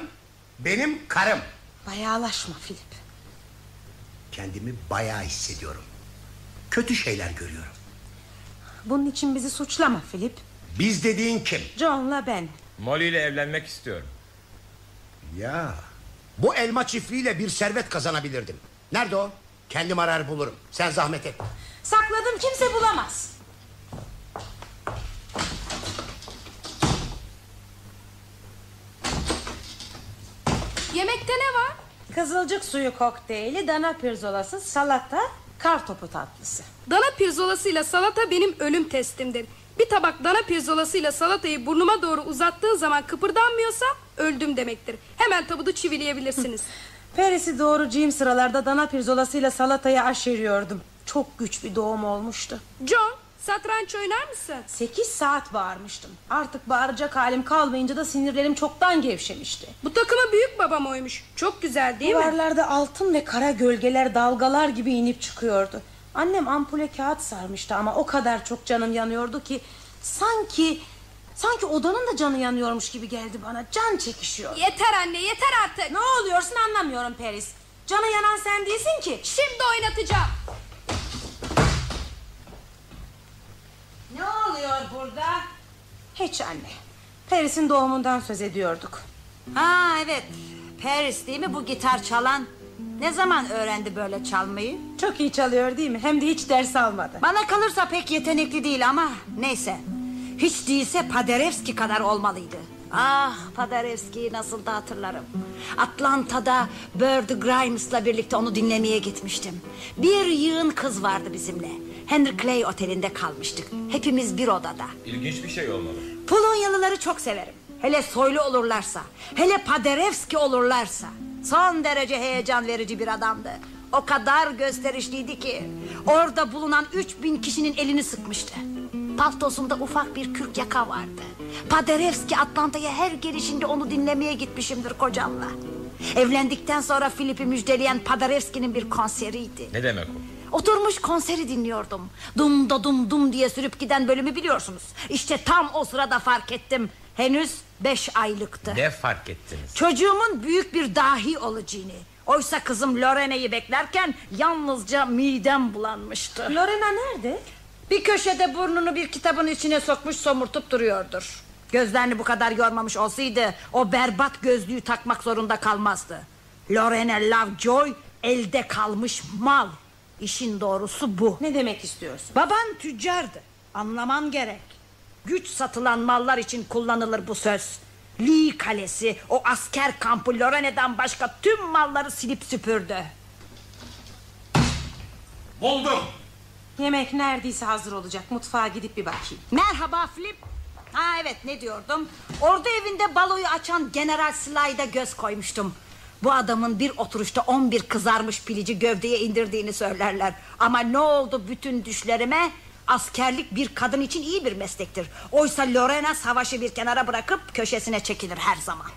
Speaker 7: benim karım.
Speaker 5: Bayağılaşma Philip.
Speaker 7: Kendimi bayağı hissediyorum. Kötü şeyler görüyorum.
Speaker 5: Bunun için bizi suçlama Philip.
Speaker 7: Biz dediğin kim?
Speaker 5: John'la ben.
Speaker 10: Molly ile evlenmek istiyorum.
Speaker 7: Ya. Bu elma çiftliğiyle bir servet kazanabilirdim. Nerede o? Kendim arar bulurum. Sen zahmet et.
Speaker 5: Sakladım kimse bulamaz.
Speaker 4: Yemekte ne var?
Speaker 5: Kızılcık suyu kokteyli, dana pirzolası, salata, kar topu tatlısı.
Speaker 4: Dana pirzolasıyla salata benim ölüm testimdir. Bir tabak dana pirzolasıyla salatayı burnuma doğru uzattığın zaman kıpırdanmıyorsa öldüm demektir. Hemen tabudu çivileyebilirsiniz.
Speaker 5: Perisi doğrucuyum sıralarda dana pirzolasıyla salatayı aşeriyordum. Çok güç bir doğum olmuştu.
Speaker 4: John, satranç oynar mısın?
Speaker 5: Sekiz saat bağırmıştım. Artık bağıracak halim kalmayınca da sinirlerim çoktan gevşemişti.
Speaker 4: Bu takımı büyük babam oymuş. Çok güzel değil mi?
Speaker 5: Duvarlarda altın ve kara gölgeler dalgalar gibi inip çıkıyordu. Annem ampule kağıt sarmıştı ama o kadar çok canım yanıyordu ki sanki sanki odanın da canı yanıyormuş gibi geldi bana. Can çekişiyor.
Speaker 4: Yeter anne, yeter artık.
Speaker 5: Ne oluyorsun anlamıyorum Peris. Canı yanan sen değilsin ki.
Speaker 4: Şimdi oynatacağım.
Speaker 8: oluyor burada?
Speaker 5: Hiç anne. Paris'in doğumundan söz ediyorduk.
Speaker 8: Ha evet. Paris değil mi bu gitar çalan? Ne zaman öğrendi böyle çalmayı?
Speaker 5: Çok iyi çalıyor değil mi? Hem de hiç ders almadı.
Speaker 8: Bana kalırsa pek yetenekli değil ama neyse. Hiç değilse Paderewski kadar olmalıydı. Ah Paderewski'yi nasıl da hatırlarım. Atlanta'da Bird Grimes'la birlikte onu dinlemeye gitmiştim. Bir yığın kız vardı bizimle. Henry Clay otelinde kalmıştık. Hepimiz bir odada.
Speaker 10: İlginç bir şey olmalı.
Speaker 8: Polonyalıları çok severim. Hele soylu olurlarsa, hele Paderewski olurlarsa. Son derece heyecan verici bir adamdı. O kadar gösterişliydi ki orada bulunan 3000 kişinin elini sıkmıştı. Paltosunda ufak bir kürk yaka vardı. Paderewski Atlanta'ya her gelişinde onu dinlemeye gitmişimdir kocamla. Evlendikten sonra Filip'i müjdeleyen Paderewski'nin bir konseriydi.
Speaker 10: Ne demek o?
Speaker 8: Oturmuş konseri dinliyordum. Dum da dum dum diye sürüp giden bölümü biliyorsunuz. İşte tam o sırada fark ettim. Henüz beş aylıktı.
Speaker 10: Ne fark ettiniz?
Speaker 8: Çocuğumun büyük bir dahi olacağını. Oysa kızım Lorene'yi beklerken yalnızca midem bulanmıştı.
Speaker 5: Lorena nerede?
Speaker 8: Bir köşede burnunu bir kitabın içine sokmuş somurtup duruyordur. Gözlerini bu kadar yormamış olsaydı o berbat gözlüğü takmak zorunda kalmazdı. Lorene Lovejoy elde kalmış mal. İşin doğrusu bu.
Speaker 5: Ne demek istiyorsun?
Speaker 8: Baban tüccardı. Anlaman gerek. Güç satılan mallar için kullanılır bu söz. Lee Kalesi o asker kampı Lorene'den başka tüm malları silip süpürdü.
Speaker 11: Buldum.
Speaker 5: Yemek neredeyse hazır olacak. Mutfağa gidip bir bakayım.
Speaker 8: Merhaba Flip. Ha evet ne diyordum? Ordu evinde baloyu açan General Sly'da göz koymuştum. Bu adamın bir oturuşta 11 kızarmış pilici gövdeye indirdiğini söylerler. Ama ne oldu bütün düşlerime? Askerlik bir kadın için iyi bir meslektir. Oysa Lorena savaşı bir kenara bırakıp köşesine çekilir her zaman.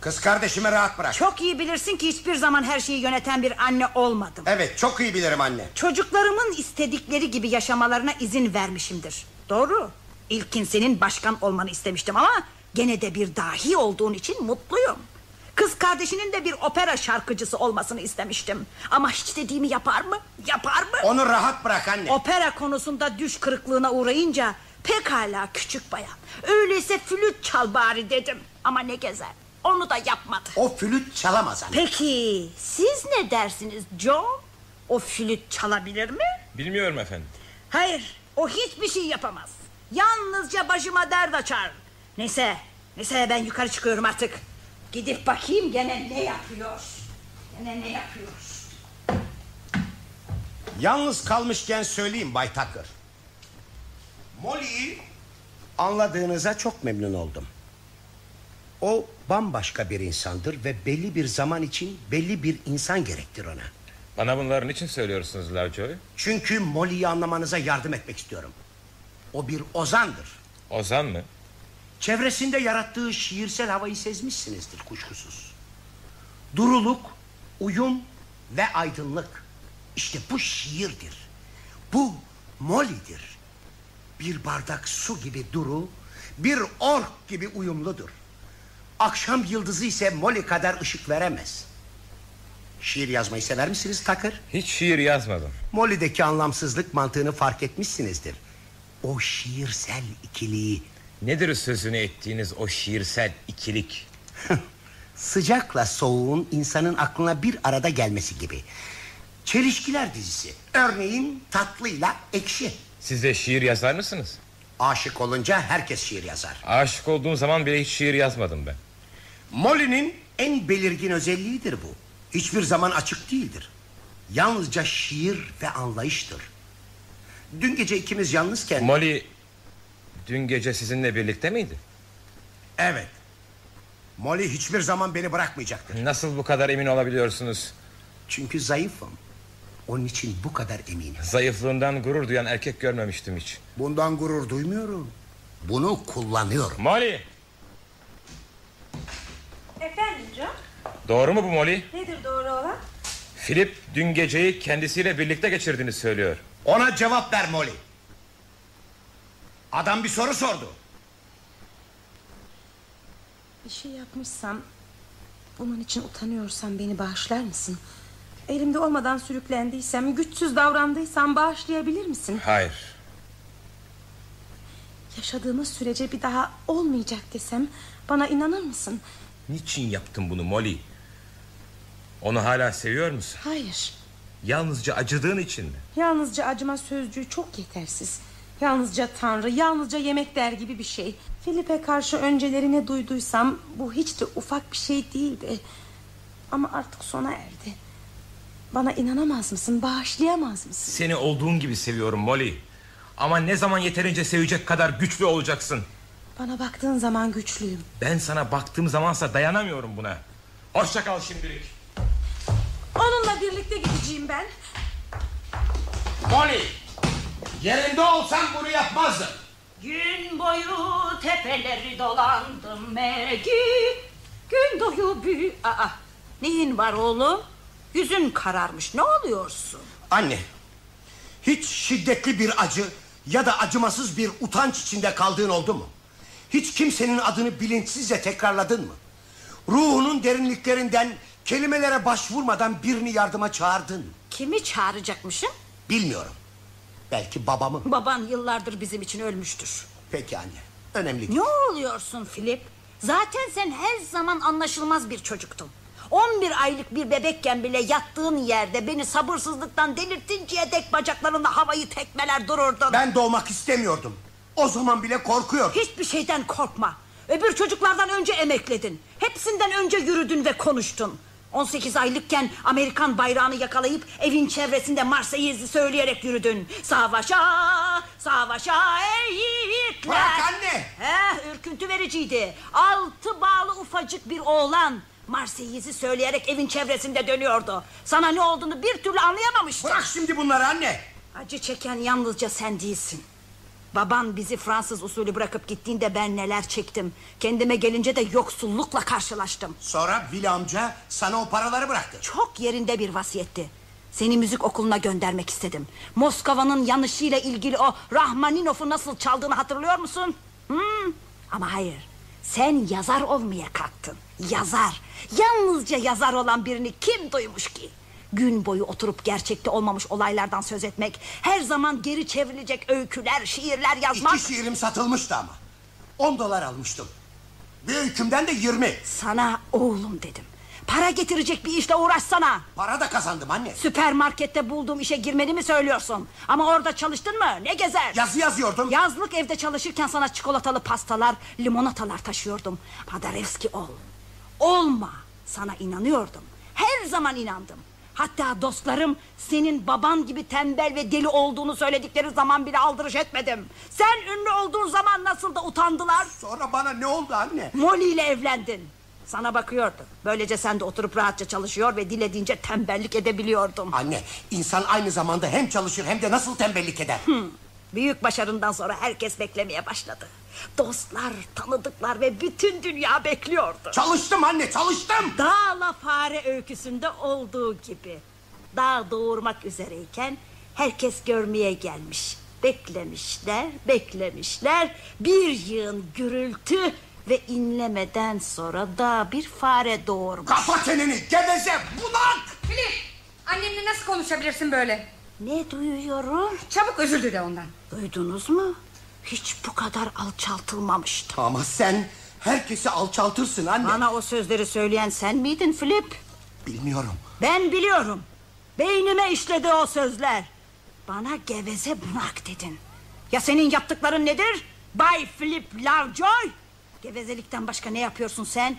Speaker 11: Kız kardeşimi rahat bırak.
Speaker 8: Çok iyi bilirsin ki hiçbir zaman her şeyi yöneten bir anne olmadım.
Speaker 11: Evet çok iyi bilirim anne.
Speaker 8: Çocuklarımın istedikleri gibi yaşamalarına izin vermişimdir. Doğru. İlkin senin başkan olmanı istemiştim ama gene de bir dahi olduğun için mutluyum. Kız kardeşinin de bir opera şarkıcısı olmasını istemiştim. Ama hiç dediğimi yapar mı? Yapar mı?
Speaker 11: Onu rahat bırak anne.
Speaker 8: Opera konusunda düş kırıklığına uğrayınca pekala küçük bayan. Öyleyse flüt çal bari dedim. Ama ne gezer. Onu da yapmadı.
Speaker 11: O flüt çalamaz anne.
Speaker 8: Peki siz ne dersiniz John? O flüt çalabilir mi?
Speaker 10: Bilmiyorum efendim.
Speaker 8: Hayır o hiçbir şey yapamaz. Yalnızca başıma dert açar. Neyse neyse ben yukarı çıkıyorum artık. Gidip bakayım gene ne yapıyor. Gene ne yapıyor.
Speaker 11: Yalnız kalmışken söyleyeyim Bay Tucker. Molly'yi
Speaker 7: Anladığınıza çok memnun oldum. O bambaşka bir insandır ve belli bir zaman için belli bir insan gerektir ona.
Speaker 10: Bana bunların için söylüyorsunuz Lovejoy.
Speaker 7: Çünkü Molly'yi anlamanıza yardım etmek istiyorum. O bir ozandır.
Speaker 10: Ozan mı?
Speaker 7: Çevresinde yarattığı şiirsel havayı sezmişsinizdir kuşkusuz. Duruluk, uyum ve aydınlık. İşte bu şiirdir. Bu Molly'dir. Bir bardak su gibi duru, bir ork gibi uyumludur. Akşam yıldızı ise Molly kadar ışık veremez. Şiir yazmayı sever misiniz Takır?
Speaker 10: Hiç şiir yazmadım.
Speaker 7: Molly'deki anlamsızlık mantığını fark etmişsinizdir. O şiirsel ikiliği
Speaker 10: Nedir sözünü ettiğiniz o şiirsel ikilik?
Speaker 7: Sıcakla soğuğun insanın aklına bir arada gelmesi gibi. Çelişkiler dizisi. Örneğin tatlıyla ekşi.
Speaker 10: Siz de şiir yazar mısınız?
Speaker 7: Aşık olunca herkes şiir yazar.
Speaker 10: Aşık olduğum zaman bile hiç şiir yazmadım ben.
Speaker 7: Molly'nin en belirgin özelliğidir bu. Hiçbir zaman açık değildir. Yalnızca şiir ve anlayıştır. Dün gece ikimiz yalnızken...
Speaker 10: Molly dün gece sizinle birlikte miydi?
Speaker 11: Evet. Molly hiçbir zaman beni bırakmayacaktır.
Speaker 10: Nasıl bu kadar emin olabiliyorsunuz?
Speaker 7: Çünkü zayıfım. Onun için bu kadar eminim.
Speaker 10: Zayıflığından gurur duyan erkek görmemiştim hiç.
Speaker 11: Bundan gurur duymuyorum.
Speaker 7: Bunu kullanıyorum.
Speaker 10: Molly!
Speaker 5: Efendim John?
Speaker 10: Doğru mu bu Molly?
Speaker 5: Nedir doğru olan?
Speaker 10: Philip dün geceyi kendisiyle birlikte geçirdiğini söylüyor.
Speaker 11: Ona cevap ver Molly. Adam bir soru sordu.
Speaker 5: Bir şey yapmışsam... ...bunun için utanıyorsan beni bağışlar mısın? Elimde olmadan sürüklendiysem... ...güçsüz davrandıysam bağışlayabilir misin?
Speaker 10: Hayır.
Speaker 5: Yaşadığımız sürece bir daha olmayacak desem bana inanır mısın?
Speaker 6: Niçin yaptın bunu Molly? Onu hala seviyor musun?
Speaker 5: Hayır.
Speaker 6: Yalnızca acıdığın için mi?
Speaker 5: Yalnızca acıma sözcüğü çok yetersiz. Yalnızca tanrı, yalnızca yemek der gibi bir şey. Filip'e karşı önceleri ne duyduysam bu hiç de ufak bir şey değildi. Ama artık sona erdi. Bana inanamaz mısın, bağışlayamaz mısın?
Speaker 6: Seni olduğun gibi seviyorum Molly. Ama ne zaman yeterince sevecek kadar güçlü olacaksın?
Speaker 5: Bana baktığın zaman güçlüyüm.
Speaker 6: Ben sana baktığım zamansa dayanamıyorum buna. Hoşça kal şimdilik.
Speaker 5: Onunla birlikte gideceğim ben.
Speaker 10: Molly! Yerinde olsam bunu yapmazdım.
Speaker 12: Gün boyu tepeleri dolandım Mergi. Gün doyu büyü...
Speaker 8: Aa, neyin var oğlum? Yüzün kararmış. Ne oluyorsun?
Speaker 10: Anne, hiç şiddetli bir acı ya da acımasız bir utanç içinde kaldığın oldu mu? Hiç kimsenin adını bilinçsizce tekrarladın mı? Ruhunun derinliklerinden kelimelere başvurmadan birini yardıma çağırdın mı?
Speaker 8: Kimi çağıracakmışım?
Speaker 10: Bilmiyorum. Belki babamı.
Speaker 8: Baban yıllardır bizim için ölmüştür.
Speaker 10: Peki anne, önemli değil.
Speaker 8: Ne oluyorsun Filip? Zaten sen her zaman anlaşılmaz bir çocuktun. 11 aylık bir bebekken bile yattığın yerde beni sabırsızlıktan delirtinceye dek bacaklarında havayı tekmeler dururdun.
Speaker 10: Ben doğmak istemiyordum. O zaman bile korkuyordum.
Speaker 8: Hiçbir şeyden korkma. Öbür çocuklardan önce emekledin. Hepsinden önce yürüdün ve konuştun. 18 aylıkken Amerikan bayrağını yakalayıp evin çevresinde Marseillais'i söyleyerek yürüdün. Savaşa, savaşa ey yiğitler.
Speaker 10: Bırak anne!
Speaker 8: Eh, ürküntü vericiydi. Altı bağlı ufacık bir oğlan. Marseillais'i söyleyerek evin çevresinde dönüyordu. Sana ne olduğunu bir türlü anlayamamıştı.
Speaker 10: Bırak şimdi bunları anne.
Speaker 8: Acı çeken yalnızca sen değilsin. Baban bizi Fransız usulü bırakıp gittiğinde ben neler çektim. Kendime gelince de yoksullukla karşılaştım.
Speaker 10: Sonra Vili amca sana o paraları bıraktı.
Speaker 8: Çok yerinde bir vasiyetti. Seni müzik okuluna göndermek istedim. Moskova'nın yanışıyla ilgili o Rahmaninov'u nasıl çaldığını hatırlıyor musun? Hmm. Ama hayır. Sen yazar olmaya kalktın. Yazar. Yalnızca yazar olan birini kim duymuş ki? Gün boyu oturup gerçekte olmamış olaylardan söz etmek, her zaman geri çevrilecek öyküler, şiirler yazmak...
Speaker 10: İki şiirim satılmıştı ama. 10 dolar almıştım. Bir hükümden de 20.
Speaker 8: Sana oğlum dedim. Para getirecek bir işle uğraşsana.
Speaker 10: Para da kazandım anne.
Speaker 8: Süpermarkette bulduğum işe girmeni mi söylüyorsun? Ama orada çalıştın mı? Ne gezer?
Speaker 10: Yazı yazıyordum.
Speaker 8: Yazlık evde çalışırken sana çikolatalı pastalar, limonatalar taşıyordum. Paderewski ol. Olma. Sana inanıyordum. Her zaman inandım. Hatta dostlarım senin baban gibi tembel ve deli olduğunu söyledikleri zaman bile aldırış etmedim. Sen ünlü olduğun zaman nasıl da utandılar.
Speaker 10: Sonra bana ne oldu anne?
Speaker 8: Molly ile evlendin. Sana bakıyordu. Böylece sen de oturup rahatça çalışıyor ve dilediğince tembellik edebiliyordun.
Speaker 10: Anne insan aynı zamanda hem çalışır hem de nasıl tembellik eder.
Speaker 8: Büyük başarından sonra herkes beklemeye başladı. Dostlar, tanıdıklar ve bütün dünya bekliyordu.
Speaker 10: çalıştım anne çalıştım.
Speaker 8: Dağla fare öyküsünde olduğu gibi. Dağ doğurmak üzereyken herkes görmeye gelmiş. Beklemişler, beklemişler. Bir yığın gürültü ve inlemeden sonra dağ bir fare doğurmuş.
Speaker 10: Kapa çeneni geveze bunak.
Speaker 7: Filip annemle nasıl konuşabilirsin böyle?
Speaker 8: Ne duyuyorum?
Speaker 7: Çabuk özür dile ondan.
Speaker 8: Duydunuz mu? Hiç bu kadar alçaltılmamıştım.
Speaker 10: Ama sen herkesi alçaltırsın anne.
Speaker 8: Bana o sözleri söyleyen sen miydin Flip?
Speaker 10: Bilmiyorum.
Speaker 8: Ben biliyorum. Beynime işledi o sözler. Bana geveze bunak dedin. Ya senin yaptıkların nedir? Bay Flip Lovejoy. Gevezelikten başka ne yapıyorsun sen?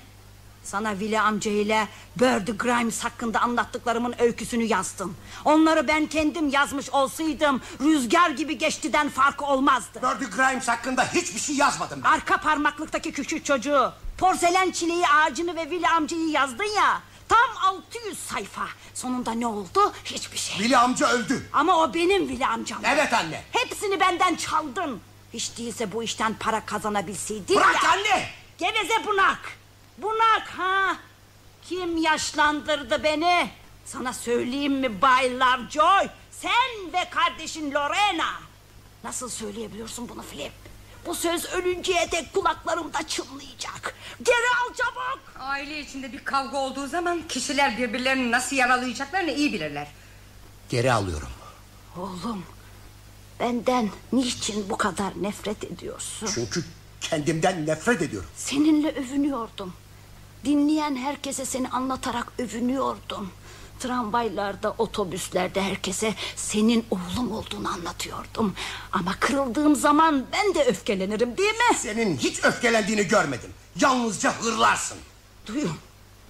Speaker 8: Sana Willy amca ile Bird Grimes hakkında anlattıklarımın öyküsünü yazdım. Onları ben kendim yazmış olsaydım rüzgar gibi geçtiden farkı olmazdı.
Speaker 10: Birdie Grimes hakkında hiçbir şey yazmadım ben.
Speaker 8: Arka parmaklıktaki küçük çocuğu Porselen çileği ağacını ve Vili amcayı yazdın ya Tam 600 sayfa Sonunda ne oldu hiçbir şey
Speaker 10: Vili amca öldü.
Speaker 8: Ama o benim Vili amcam
Speaker 10: Evet anne.
Speaker 8: Hepsini benden çaldın Hiç değilse bu işten para kazanabilseydin
Speaker 10: Bırak
Speaker 8: ya.
Speaker 10: anne.
Speaker 8: Geveze bunak Bunak ha Kim yaşlandırdı beni Sana söyleyeyim mi Bay Lovejoy Sen ve kardeşin Lorena Nasıl söyleyebiliyorsun bunu Flip Bu söz ölünceye dek kulaklarımda çınlayacak Geri al çabuk
Speaker 7: Aile içinde bir kavga olduğu zaman kişiler birbirlerini nasıl yaralayacaklarını iyi bilirler.
Speaker 10: Geri alıyorum.
Speaker 8: Oğlum Benden niçin bu kadar nefret ediyorsun?
Speaker 10: Çünkü kendimden nefret ediyorum.
Speaker 8: Seninle övünüyordum. Dinleyen herkese seni anlatarak övünüyordum. Tramvaylarda, otobüslerde herkese senin oğlum olduğunu anlatıyordum. Ama kırıldığım zaman ben de öfkelenirim değil mi?
Speaker 10: Senin hiç öfkelendiğini görmedim. Yalnızca hırlarsın.
Speaker 8: Duyun,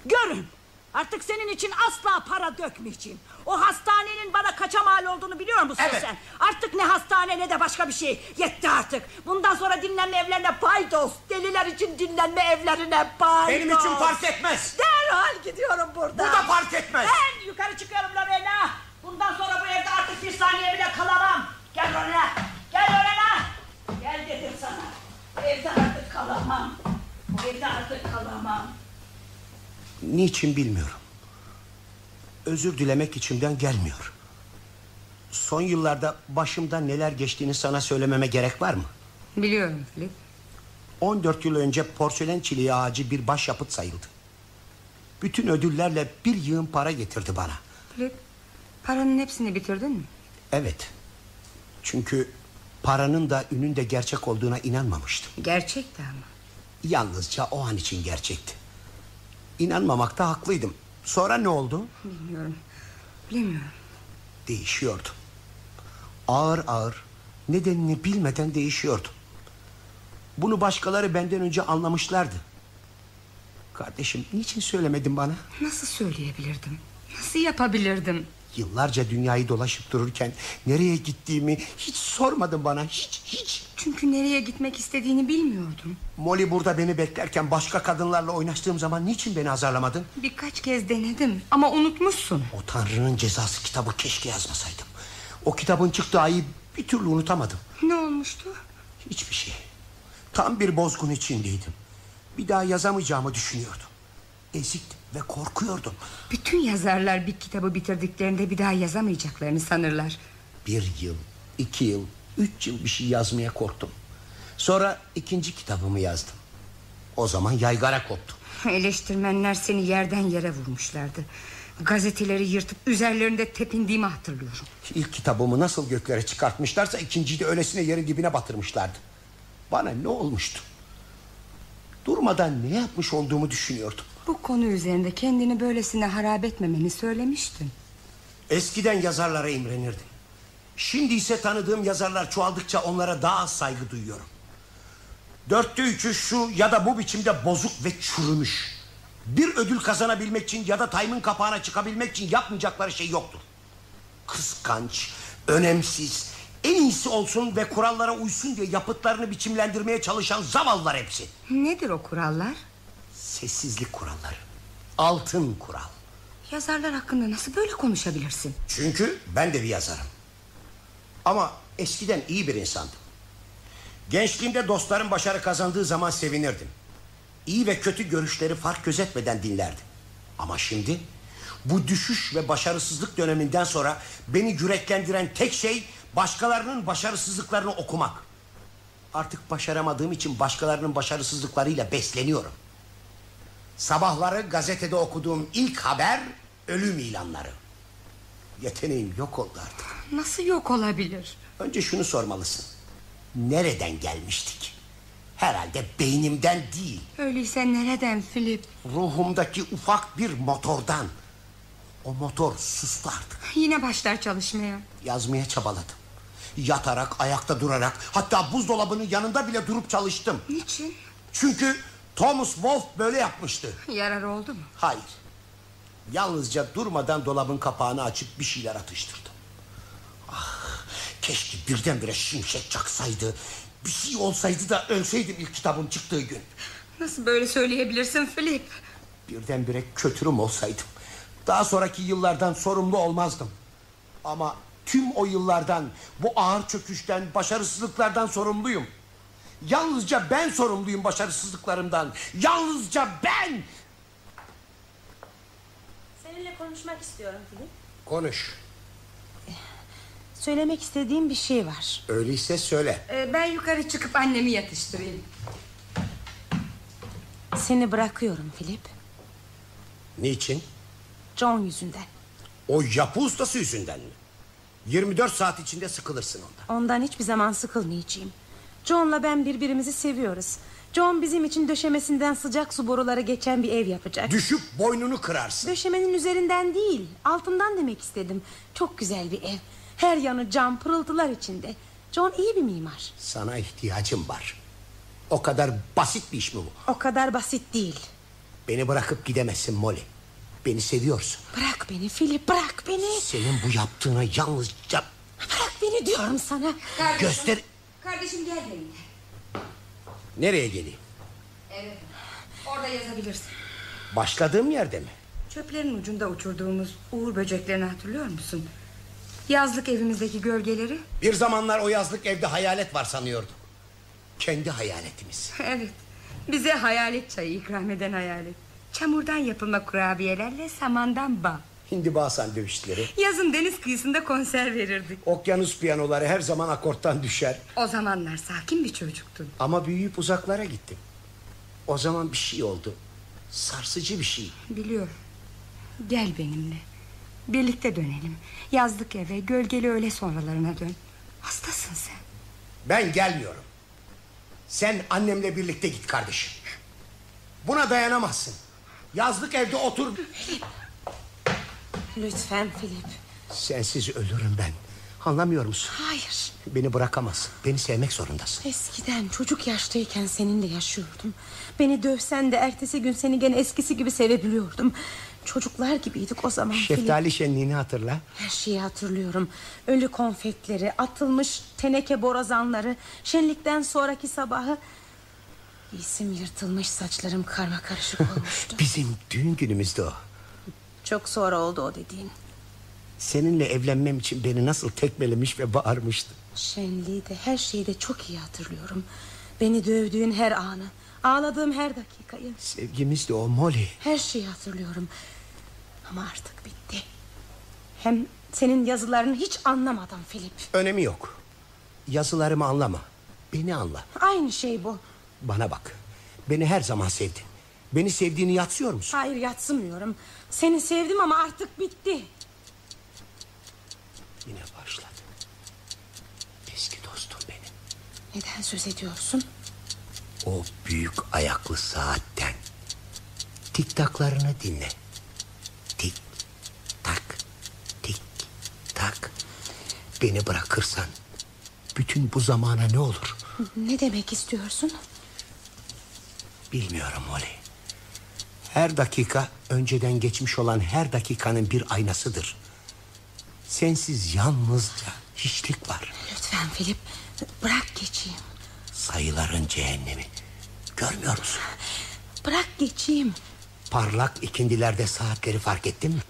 Speaker 8: görün. Artık senin için asla para dökmeyeceğim. O hastanenin bana kaça mal olduğunu biliyor musun
Speaker 10: Evet.
Speaker 8: sen? Artık ne hastane ne de başka bir şey. Yetti artık. Bundan sonra dinlenme evlerine paydos. Deliler için dinlenme evlerine paydos.
Speaker 10: Benim için fark etmez.
Speaker 8: Derhal gidiyorum buradan.
Speaker 10: Bu da fark etmez.
Speaker 12: Ben yukarı çıkıyorum Lorena. Bundan sonra bu evde artık bir saniye bile kalamam. Gel Lorena. Gel Lorena. Gel dedim sana. Bu evde artık kalamam. Bu evde artık kalamam.
Speaker 10: Niçin bilmiyorum. Özür dilemek içimden gelmiyor. Son yıllarda başımda neler geçtiğini sana söylememe gerek var mı?
Speaker 7: Biliyorum Filip.
Speaker 10: 14 yıl önce porselen çileği ağacı bir başyapıt sayıldı. Bütün ödüllerle bir yığın para getirdi bana.
Speaker 7: Filip paranın hepsini bitirdin mi?
Speaker 10: Evet. Çünkü paranın da ünün de gerçek olduğuna inanmamıştım.
Speaker 7: Gerçekten mi?
Speaker 10: Yalnızca o an için gerçekti. İnanmamakta haklıydım. Sonra ne oldu?
Speaker 7: Bilmiyorum. Bilmiyorum.
Speaker 10: değişiyordu. Ağır ağır nedenini bilmeden değişiyordu. Bunu başkaları benden önce anlamışlardı. Kardeşim niçin söylemedin bana?
Speaker 7: Nasıl söyleyebilirdim? Nasıl yapabilirdim?
Speaker 10: Yıllarca dünyayı dolaşıp dururken nereye gittiğimi hiç sormadın bana hiç hiç.
Speaker 7: Çünkü nereye gitmek istediğini bilmiyordum.
Speaker 10: Molly burada beni beklerken başka kadınlarla oynaştığım zaman niçin beni azarlamadın?
Speaker 7: Birkaç kez denedim ama unutmuşsun.
Speaker 10: O Tanrı'nın cezası kitabı keşke yazmasaydım. O kitabın çıktığı ayı bir türlü unutamadım.
Speaker 7: Ne olmuştu?
Speaker 10: Hiçbir şey. Tam bir bozgun içindeydim. Bir daha yazamayacağımı düşünüyordum. Eziktim ve korkuyordum.
Speaker 7: Bütün yazarlar bir kitabı bitirdiklerinde bir daha yazamayacaklarını sanırlar.
Speaker 10: Bir yıl, iki yıl, üç yıl bir şey yazmaya korktum. Sonra ikinci kitabımı yazdım. O zaman yaygara koptu.
Speaker 7: Eleştirmenler seni yerden yere vurmuşlardı. Gazeteleri yırtıp üzerlerinde tepindiğimi hatırlıyorum.
Speaker 10: İlk kitabımı nasıl göklere çıkartmışlarsa ikinciyi de öylesine yerin dibine batırmışlardı. Bana ne olmuştu? Durmadan ne yapmış olduğumu düşünüyordum.
Speaker 7: Bu konu üzerinde kendini böylesine harap etmemeni söylemiştin.
Speaker 10: Eskiden yazarlara imrenirdim. Şimdi ise tanıdığım yazarlar çoğaldıkça onlara daha az saygı duyuyorum. Dörtte üçü şu ya da bu biçimde bozuk ve çürümüş. Bir ödül kazanabilmek için ya da Time'ın kapağına çıkabilmek için yapmayacakları şey yoktur. Kıskanç, önemsiz, en iyisi olsun ve kurallara uysun diye yapıtlarını biçimlendirmeye çalışan zavallılar hepsi.
Speaker 7: Nedir o kurallar?
Speaker 10: Sessizlik kuralları. Altın kural.
Speaker 7: Yazarlar hakkında nasıl böyle konuşabilirsin?
Speaker 10: Çünkü ben de bir yazarım. Ama eskiden iyi bir insandım. Gençliğimde dostlarım başarı kazandığı zaman sevinirdim. İyi ve kötü görüşleri fark gözetmeden dinlerdim. Ama şimdi bu düşüş ve başarısızlık döneminden sonra beni yüreklendiren tek şey başkalarının başarısızlıklarını okumak. Artık başaramadığım için başkalarının başarısızlıklarıyla besleniyorum. Sabahları gazetede okuduğum ilk haber ölüm ilanları. Yeteneğim yok oldu artık.
Speaker 7: Nasıl yok olabilir?
Speaker 10: Önce şunu sormalısın. Nereden gelmiştik? Herhalde beynimden değil,
Speaker 7: Öyleyse nereden Filip?
Speaker 10: ruhumdaki ufak bir motordan. O motor sustu artık.
Speaker 7: Yine başlar çalışmaya.
Speaker 10: Yazmaya çabaladım. Yatarak, ayakta durarak, hatta buzdolabının yanında bile durup çalıştım.
Speaker 7: Niçin?
Speaker 10: Çünkü Thomas Wolfe böyle yapmıştı.
Speaker 7: Yarar oldu mu?
Speaker 10: Hayır. Yalnızca durmadan dolabın kapağını açıp bir şeyler atıştırdım. Ah, keşke birdenbire şimşek çaksaydı. Bir şey olsaydı da ölseydim ilk kitabım çıktığı gün.
Speaker 7: Nasıl böyle söyleyebilirsin Filip?
Speaker 10: Birdenbire kötürüm olsaydım. Daha sonraki yıllardan sorumlu olmazdım. Ama tüm o yıllardan, bu ağır çöküşten, başarısızlıklardan sorumluyum. Yalnızca ben sorumluyum başarısızlıklarımdan. Yalnızca ben!
Speaker 13: Seninle konuşmak istiyorum Filip.
Speaker 10: Konuş.
Speaker 5: Söylemek istediğim bir şey var.
Speaker 10: Öyleyse söyle.
Speaker 7: Ee, ben yukarı çıkıp annemi yatıştırayım.
Speaker 5: Seni bırakıyorum Filip.
Speaker 10: Niçin?
Speaker 5: John yüzünden.
Speaker 10: O yapı ustası yüzünden mi? 24 saat içinde sıkılırsın ondan.
Speaker 5: Ondan hiçbir zaman sıkılmayacağım. John'la ben birbirimizi seviyoruz. John bizim için döşemesinden sıcak su boruları geçen bir ev yapacak.
Speaker 10: Düşüp boynunu kırarsın.
Speaker 5: Döşemenin üzerinden değil, altından demek istedim. Çok güzel bir ev. Her yanı cam pırıltılar içinde. John iyi bir mimar.
Speaker 10: Sana ihtiyacım var. O kadar basit bir iş mi bu?
Speaker 5: O kadar basit değil.
Speaker 10: Beni bırakıp gidemezsin Molly. Beni seviyorsun.
Speaker 5: Bırak beni Philip, bırak beni.
Speaker 10: Senin bu yaptığına yalnızca
Speaker 5: Bırak beni diyorum sana.
Speaker 8: Kardeşim,
Speaker 10: göster...
Speaker 8: Kardeşim gel benimle.
Speaker 10: Nereye geleyim?
Speaker 8: Evet. Orada yazabilirsin.
Speaker 10: Başladığım yerde mi?
Speaker 7: Çöplerin ucunda uçurduğumuz uğur böceklerini hatırlıyor musun? Yazlık evimizdeki gölgeleri.
Speaker 10: Bir zamanlar o yazlık evde hayalet var sanıyordum. Kendi hayaletimiz.
Speaker 7: Evet. Bize hayalet çayı ikram eden hayalet. Çamurdan yapılma kurabiyelerle samandan bağ.
Speaker 10: Hindi Basan dövüşleri.
Speaker 7: Yazın deniz kıyısında konser verirdik.
Speaker 10: Okyanus piyanoları her zaman akorttan düşer.
Speaker 7: O zamanlar sakin bir çocuktun.
Speaker 10: Ama büyüyüp uzaklara gittim. O zaman bir şey oldu. Sarsıcı bir şey.
Speaker 7: Biliyorum. Gel benimle. Birlikte dönelim. Yazlık eve, gölgeli öğle sonralarına dön. Hastasın sen.
Speaker 10: Ben gelmiyorum. Sen annemle birlikte git kardeşim. Buna dayanamazsın. Yazlık evde otur.
Speaker 5: Lütfen Philip.
Speaker 10: Sensiz ölürüm ben. Anlamıyor musun?
Speaker 5: Hayır.
Speaker 10: Beni bırakamazsın. Beni sevmek zorundasın.
Speaker 5: Eskiden çocuk yaştayken seninle yaşıyordum. Beni dövsen de ertesi gün seni gene eskisi gibi sevebiliyordum. Çocuklar gibiydik o zaman Philip.
Speaker 10: Şeftali şenliğini hatırla.
Speaker 5: Her şeyi hatırlıyorum. Ölü konfetleri, atılmış teneke borazanları, şenlikten sonraki sabahı... Giysim yırtılmış, saçlarım karma karışık olmuştu.
Speaker 10: Bizim düğün günümüzdü o.
Speaker 5: Çok sonra oldu o dediğin.
Speaker 10: Seninle evlenmem için beni nasıl tekmelemiş ve bağırmıştı.
Speaker 5: Şenliği de her şeyi de çok iyi hatırlıyorum. Beni dövdüğün her anı, ağladığım her dakikayı,
Speaker 10: Sevgimiz de o Molly.
Speaker 5: her şeyi hatırlıyorum. Ama artık bitti. Hem senin yazılarını hiç anlamadım Filip.
Speaker 10: Önemi yok. Yazılarımı anlama. Beni anla.
Speaker 5: Aynı şey bu.
Speaker 10: Bana bak. Beni her zaman sevdin. Beni sevdiğini yatsıyor musun?
Speaker 5: Hayır yatsımıyorum. Seni sevdim ama artık bitti.
Speaker 10: Yine başladı. Eski dostum benim.
Speaker 5: Neden söz ediyorsun?
Speaker 10: O büyük ayaklı saatten. Tik taklarını dinle. Tik tak. Tik tak. Beni bırakırsan bütün bu zamana ne olur?
Speaker 5: Ne demek istiyorsun?
Speaker 10: Bilmiyorum Molly. Her dakika önceden geçmiş olan her dakikanın bir aynasıdır. Sensiz yalnızca hiçlik var.
Speaker 5: Lütfen Filip bırak geçeyim.
Speaker 10: Sayıların cehennemi. Görmüyor musun?
Speaker 5: Bırak geçeyim.
Speaker 10: Parlak ikindilerde saatleri fark ettin mi?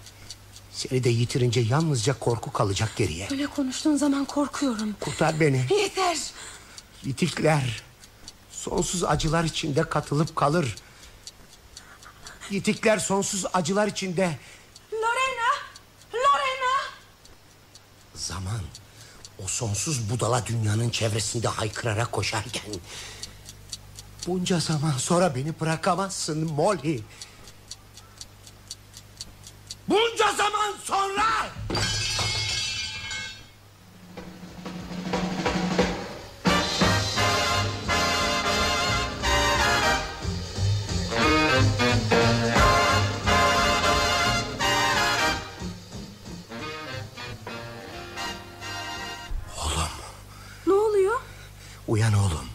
Speaker 10: Seni de yitirince yalnızca korku kalacak geriye.
Speaker 5: Böyle konuştuğun zaman korkuyorum.
Speaker 10: Kurtar beni.
Speaker 5: Yeter.
Speaker 10: Yitikler. Sonsuz acılar içinde katılıp kalır. Yitikler sonsuz acılar içinde
Speaker 5: Lorena! Lorena!
Speaker 10: Zaman o sonsuz budala dünyanın çevresinde haykırarak koşarken bunca zaman sonra beni bırakamazsın Molly. Bunca zaman sonra!
Speaker 4: Ne oluyor?
Speaker 10: Uyan oğlum.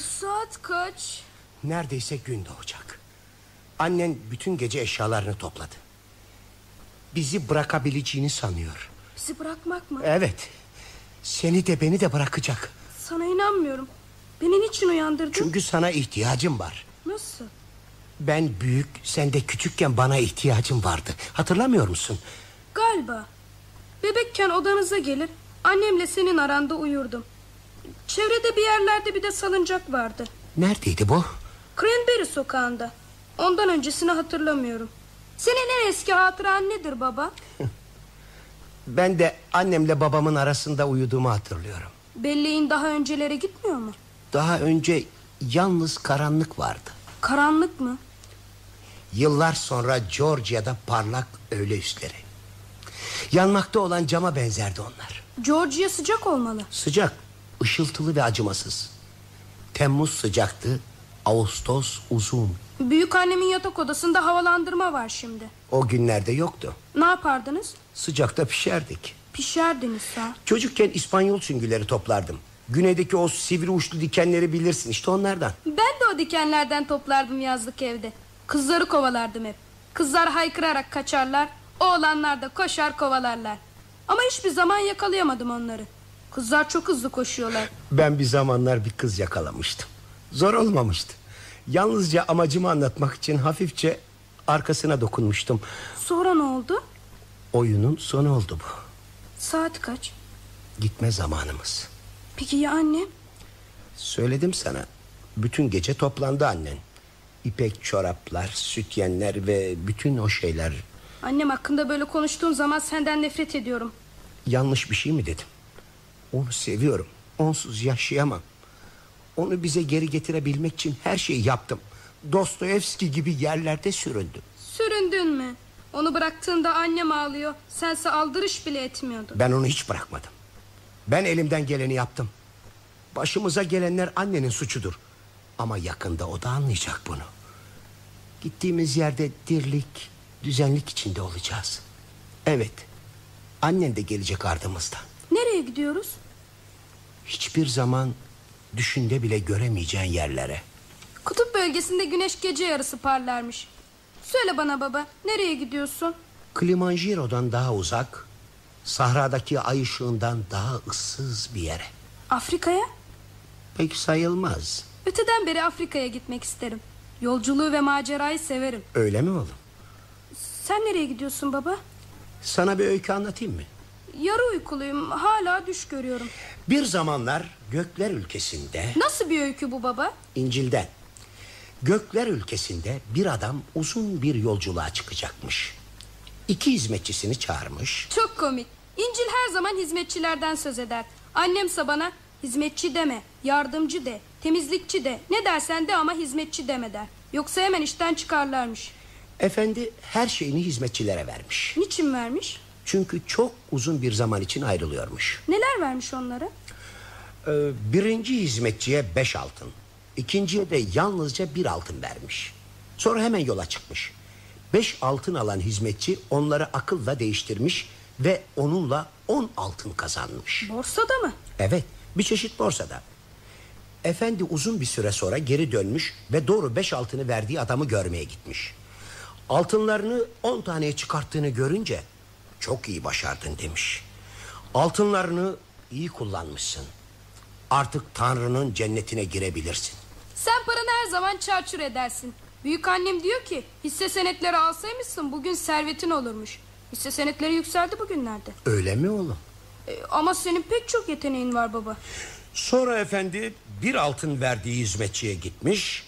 Speaker 4: Saat kaç?
Speaker 10: Neredeyse gün doğacak. Annen bütün gece eşyalarını topladı. Bizi bırakabileceğini sanıyor.
Speaker 4: Bizi bırakmak mı?
Speaker 10: Evet. Seni de beni de bırakacak.
Speaker 4: Sana inanmıyorum. Beni niçin uyandırdın?
Speaker 10: Çünkü sana ihtiyacım var.
Speaker 4: Nasıl?
Speaker 10: Ben büyük, sen de küçükken bana ihtiyacım vardı. Hatırlamıyor musun?
Speaker 4: Galiba. Bebekken odanıza gelir, annemle senin aranda uyurdum. Çevrede bir yerlerde bir de salıncak vardı.
Speaker 10: Neredeydi bu?
Speaker 4: Cranberry sokağında. Ondan öncesini hatırlamıyorum. Senin en eski hatıran nedir baba?
Speaker 10: Ben de annemle babamın arasında uyuduğumu hatırlıyorum.
Speaker 4: Belleğin daha öncelere gitmiyor mu?
Speaker 10: Daha önce yalnız karanlık vardı.
Speaker 4: Karanlık mı?
Speaker 10: Yıllar sonra Georgia'da parlak öğle üstleri. Yanmakta olan cama benzerdi onlar.
Speaker 4: George'ya sıcak olmalı.
Speaker 10: Sıcak, ışıltılı ve acımasız. Temmuz sıcaktı, Ağustos uzun.
Speaker 4: Büyük annemin yatak odasında havalandırma var şimdi.
Speaker 10: O günlerde yoktu.
Speaker 4: Ne yapardınız?
Speaker 10: Sıcakta pişerdik.
Speaker 4: Pişerdiniz sağ.
Speaker 10: Çocukken İspanyol süngüleri toplardım. Güneydeki o sivri uçlu dikenleri bilirsin işte onlardan.
Speaker 4: Ben de o dikenlerden toplardım yazlık evde. Kızları kovalardım hep. Kızlar haykırarak kaçarlar, oğlanlar da koşar kovalarlar. Ama hiçbir zaman yakalayamadım onları. Kızlar çok hızlı koşuyorlar.
Speaker 10: Ben bir zamanlar bir kız yakalamıştım. Zor olmamıştı. Yalnızca amacımı anlatmak için hafifçe arkasına dokunmuştum.
Speaker 4: Sonra ne oldu?
Speaker 10: Oyunun sonu oldu bu.
Speaker 4: Saat kaç?
Speaker 10: Gitme zamanımız.
Speaker 4: Peki ya annem?
Speaker 10: Söyledim sana. Bütün gece toplandı annen. İpek çoraplar, sütyenler ve bütün o şeyler.
Speaker 4: Annem hakkında böyle konuştuğun zaman senden nefret ediyorum.
Speaker 10: Yanlış bir şey mi dedim? Onu seviyorum. Onsuz yaşayamam. Onu bize geri getirebilmek için her şeyi yaptım. Dostoyevski gibi yerlerde süründüm.
Speaker 4: Süründün mü? Onu bıraktığında annem ağlıyor. Sense aldırış bile etmiyordun.
Speaker 10: Ben onu hiç bırakmadım. Ben elimden geleni yaptım. Başımıza gelenler annenin suçudur. Ama yakında o da anlayacak bunu. Gittiğimiz yerde dirlik, düzenlik içinde olacağız. Evet. Annen de gelecek ardımızdan.
Speaker 4: Nereye gidiyoruz?
Speaker 10: Hiçbir zaman düşünde bile göremeyeceğin yerlere.
Speaker 4: Kutup bölgesinde güneş gece yarısı parlarmış. Söyle bana baba, nereye gidiyorsun?
Speaker 10: Kilimanjaro'dan daha uzak, sahradaki ay ışığından daha ıssız bir yere.
Speaker 4: Afrika'ya?
Speaker 10: Pek sayılmaz.
Speaker 4: Öteden beri Afrika'ya gitmek isterim. Yolculuğu ve macerayı severim.
Speaker 10: Öyle mi oğlum?
Speaker 4: Sen nereye gidiyorsun baba?
Speaker 10: Sana bir öykü anlatayım mı?
Speaker 4: Yarı uykuluyum, hala düş görüyorum.
Speaker 10: Bir zamanlar gökler ülkesinde
Speaker 4: Nasıl bir öykü bu baba?
Speaker 10: İncil'den gökler ülkesinde bir adam uzun bir yolculuğa çıkacakmış. İki hizmetçisini çağırmış.
Speaker 4: Çok komik. İncil her zaman hizmetçilerden söz eder. Annemse bana hizmetçi deme, yardımcı de, temizlikçi de, ne dersen de ama hizmetçi deme der. Yoksa hemen işten çıkarlarmış.
Speaker 10: Efendi her şeyini hizmetçilere vermiş.
Speaker 4: Niçin vermiş?
Speaker 10: Çünkü çok uzun bir zaman için ayrılıyormuş.
Speaker 4: Neler vermiş onlara?
Speaker 10: Ee, birinci hizmetçiye beş altın. ikinciye de yalnızca bir altın vermiş. Sonra hemen yola çıkmış. Beş altın alan hizmetçi onları akılla değiştirmiş ve onunla on altın kazanmış.
Speaker 4: Borsada mı?
Speaker 10: Evet bir çeşit borsada Efendi uzun bir süre sonra geri dönmüş Ve doğru beş altını verdiği adamı görmeye gitmiş Altınlarını on taneye çıkarttığını görünce Çok iyi başardın demiş Altınlarını iyi kullanmışsın Artık Tanrı'nın cennetine girebilirsin
Speaker 4: Sen paranı her zaman çarçur edersin. Büyük annem diyor ki hisse senetleri alsaymışsın bugün servetin olurmuş. Hisse senetleri yükseldi bugünlerde.
Speaker 10: Öyle mi oğlum?
Speaker 4: E, ama senin pek çok yeteneğin var baba.
Speaker 10: Sonra efendi bir altın verdiği hizmetçiye gitmiş.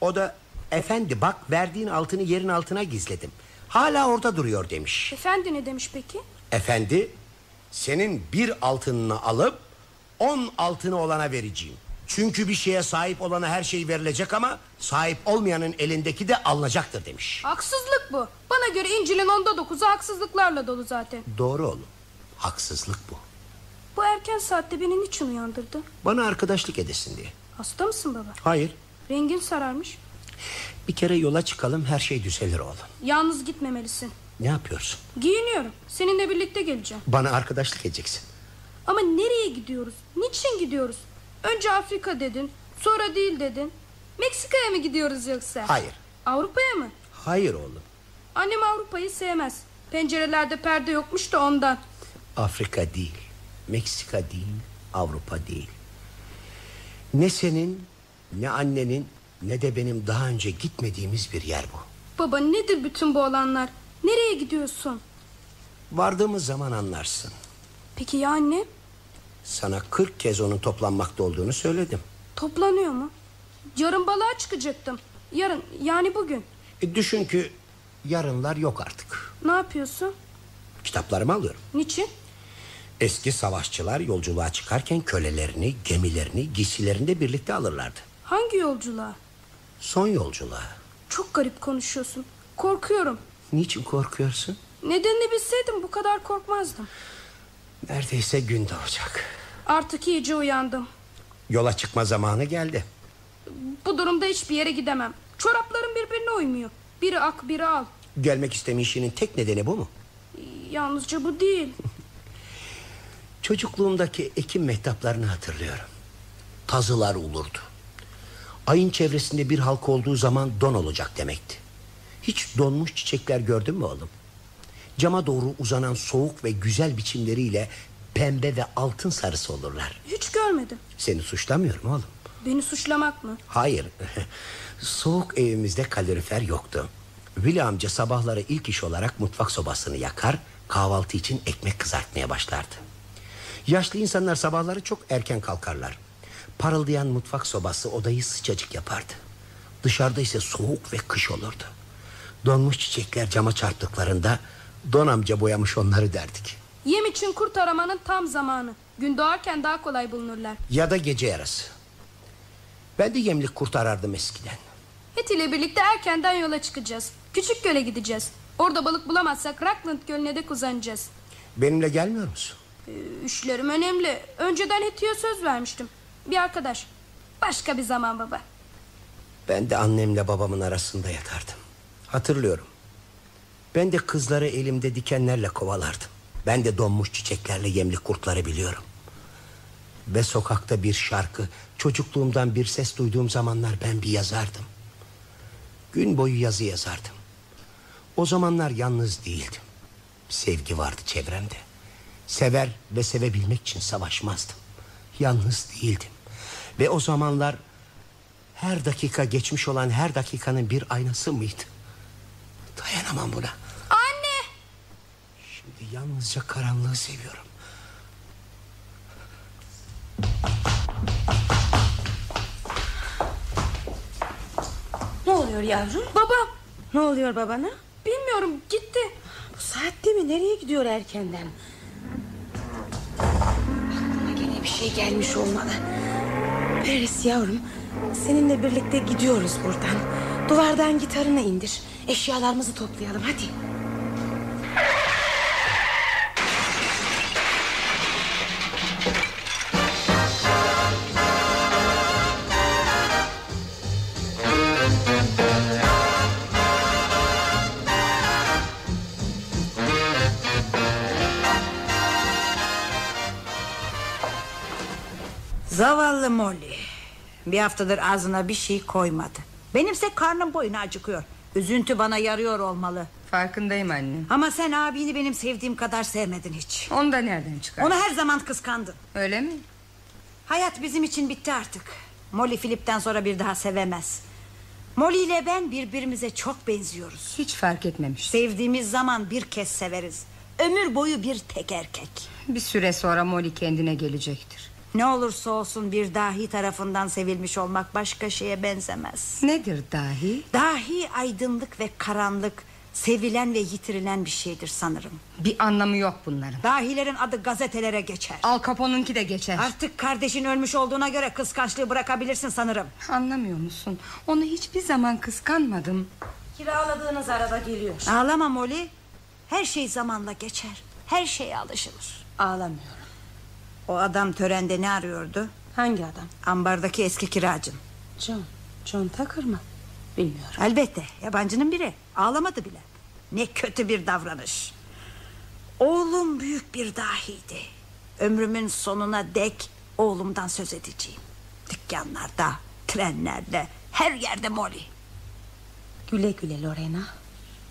Speaker 10: O da efendi bak verdiğin altını yerin altına gizledim. Hala orada duruyor demiş.
Speaker 4: Efendi ne demiş peki?
Speaker 10: Efendi senin bir altınını alıp on altını olana vereceğim. Çünkü bir şeye sahip olana her şey verilecek ama sahip olmayanın elindeki de alınacaktır demiş.
Speaker 4: Haksızlık bu. Bana göre İncil'in onda dokuzu haksızlıklarla dolu zaten.
Speaker 10: Doğru oğlum. Haksızlık bu.
Speaker 4: Bu erken saatte beni niçin uyandırdı?
Speaker 10: Bana arkadaşlık edesin diye.
Speaker 4: Hasta mısın baba?
Speaker 10: Hayır.
Speaker 4: Rengin sararmış.
Speaker 10: Bir kere yola çıkalım her şey düzelir oğlum.
Speaker 4: Yalnız gitmemelisin.
Speaker 10: Ne yapıyorsun?
Speaker 4: Giyiniyorum. Seninle birlikte geleceğim.
Speaker 10: Bana arkadaşlık edeceksin.
Speaker 4: Ama nereye gidiyoruz? Niçin gidiyoruz? Önce Afrika dedin, sonra değil dedin. Meksika'ya mı gidiyoruz yoksa?
Speaker 10: Hayır.
Speaker 4: Avrupa'ya mı?
Speaker 10: Hayır oğlum.
Speaker 4: Annem Avrupa'yı sevmez. Pencerelerde perde yokmuş da ondan.
Speaker 10: Afrika değil, Meksika değil, Avrupa değil. Ne senin, ne annenin, ne de benim daha önce gitmediğimiz bir yer bu.
Speaker 4: Baba nedir bütün bu olanlar? Nereye gidiyorsun?
Speaker 10: Vardığımız zaman anlarsın.
Speaker 4: Peki ya anne?
Speaker 10: Sana 40 kez onun toplanmakta olduğunu söyledim.
Speaker 4: Toplanıyor mu? Yarın balığa çıkacaktım. Yarın yani bugün.
Speaker 10: E düşün ki yarınlar yok artık.
Speaker 4: Ne yapıyorsun?
Speaker 10: Kitaplarımı alıyorum.
Speaker 4: Niçin?
Speaker 10: Eski savaşçılar yolculuğa çıkarken kölelerini, gemilerini, giysilerini de birlikte alırlardı.
Speaker 4: Hangi yolculuğa?
Speaker 10: Son yolculuğa.
Speaker 4: Çok garip konuşuyorsun. Korkuyorum.
Speaker 10: Niçin korkuyorsun?
Speaker 4: Nedenini bilseydim bu kadar korkmazdım.
Speaker 10: Neredeyse gün doğacak.
Speaker 4: Artık iyice uyandım.
Speaker 10: Yola çıkma zamanı geldi.
Speaker 4: Bu durumda hiçbir yere gidemem. Çoraplarım birbirine uymuyor. Biri ak biri al.
Speaker 10: Gelmek istemeyişinin tek nedeni bu mu?
Speaker 4: Yalnızca bu değil.
Speaker 10: Çocukluğumdaki ekim mehtaplarını hatırlıyorum. Tazılar olurdu. Ayın çevresinde bir halka olduğu zaman don olacak demekti. Hiç donmuş çiçekler gördün mü oğlum? Cama doğru uzanan soğuk ve güzel biçimleriyle pembe ve altın sarısı olurlar.
Speaker 4: Hiç görmedim.
Speaker 10: Seni suçlamıyorum oğlum.
Speaker 4: Beni suçlamak mı?
Speaker 10: Hayır. Soğuk evimizde kalorifer yoktu. Vili amca sabahları ilk iş olarak mutfak sobasını yakar, kahvaltı için ekmek kızartmaya başlardı. Yaşlı insanlar sabahları çok erken kalkarlar. Parıldayan mutfak sobası odayı sıcacık yapardı. Dışarıda ise soğuk ve kış olurdu. Donmuş çiçekler cama çarptıklarında don amca boyamış onları derdik.
Speaker 4: Yem için kurt aramanın tam zamanı. Gün doğarken daha kolay bulunurlar.
Speaker 10: Ya da gece yarısı. Ben de yemlik kurt arardım eskiden.
Speaker 4: Het ile birlikte erkenden yola çıkacağız. Küçük göle gideceğiz. Orada balık bulamazsak Rockland Gölü'ne de uzanacağız.
Speaker 10: Benimle gelmiyor musun?
Speaker 4: Üşlerim önemli. Önceden Heti'ye söz vermiştim. Bir arkadaş. Başka bir zaman baba.
Speaker 10: Ben de annemle babamın arasında yatardım. Hatırlıyorum. Ben de kızları elimde dikenlerle kovalardım. Ben de donmuş çiçeklerle yemlik kurtları biliyorum. Ve sokakta bir şarkı, çocukluğumdan bir ses duyduğum zamanlar ben bir yazardım. Gün boyu yazı yazardım. O zamanlar yalnız değildim. Sevgi vardı çevremde. Sever ve sevebilmek için savaşmazdım. Yalnız değildim. Ve o zamanlar her dakika geçmiş olan her dakikanın bir aynası mıydı? Dayanamam buna.
Speaker 4: Anne!
Speaker 10: Şimdi yalnızca karanlığı seviyorum.
Speaker 5: Ne oluyor yavrum?
Speaker 4: Baba!
Speaker 5: Ne oluyor babana?
Speaker 4: Bilmiyorum gitti.
Speaker 5: Bu saatte mi? Nereye gidiyor erkenden? Aklıma gene bir şey gelmiş olmalı. Paris yavrum, seninle birlikte gidiyoruz buradan. Duvardan gitarını indir. Eşyalarımızı toplayalım hadi.
Speaker 8: Zavallı Molly. Bir haftadır ağzına bir şey koymadı. Benimse karnım boyuna acıkıyor. Üzüntü bana yarıyor olmalı.
Speaker 7: Farkındayım anne.
Speaker 8: Ama sen abini benim sevdiğim kadar sevmedin hiç.
Speaker 7: Onu da nereden çıkar?
Speaker 8: Onu her zaman kıskandın.
Speaker 7: Öyle mi?
Speaker 8: Hayat bizim için bitti artık. Molly Philip'ten sonra bir daha sevemez. Molly ile ben birbirimize çok benziyoruz.
Speaker 7: Hiç fark etmemiş.
Speaker 8: Sevdiğimiz zaman bir kez severiz. Ömür boyu bir tek erkek.
Speaker 7: Bir süre sonra Molly kendine gelecektir.
Speaker 8: Ne olursa olsun bir dahi tarafından sevilmiş olmak başka şeye benzemez.
Speaker 7: Nedir dahi?
Speaker 8: Dahi aydınlık ve karanlık sevilen ve yitirilen bir şeydir sanırım.
Speaker 7: Bir anlamı yok bunların.
Speaker 8: Dahilerin adı gazetelere geçer.
Speaker 7: Al Capone'unki de geçer.
Speaker 8: Artık kardeşin ölmüş olduğuna göre kıskançlığı bırakabilirsin sanırım.
Speaker 7: Anlamıyor musun? Onu hiçbir zaman kıskanmadım.
Speaker 5: Kiraladığınız araba geliyor.
Speaker 8: Ağlama Molly. Her şey zamanla geçer. Her şeye alışılır.
Speaker 5: Ağlamıyorum.
Speaker 8: O adam törende ne arıyordu?
Speaker 5: Hangi adam?
Speaker 8: Ambardaki eski kiracın.
Speaker 5: John. John Tucker mı? Bilmiyorum.
Speaker 8: Elbette yabancının biri ağlamadı bile Ne kötü bir davranış Oğlum büyük bir dahiydi Ömrümün sonuna dek oğlumdan söz edeceğim Dükkanlarda, trenlerde, her yerde Molly
Speaker 5: Güle güle Lorena.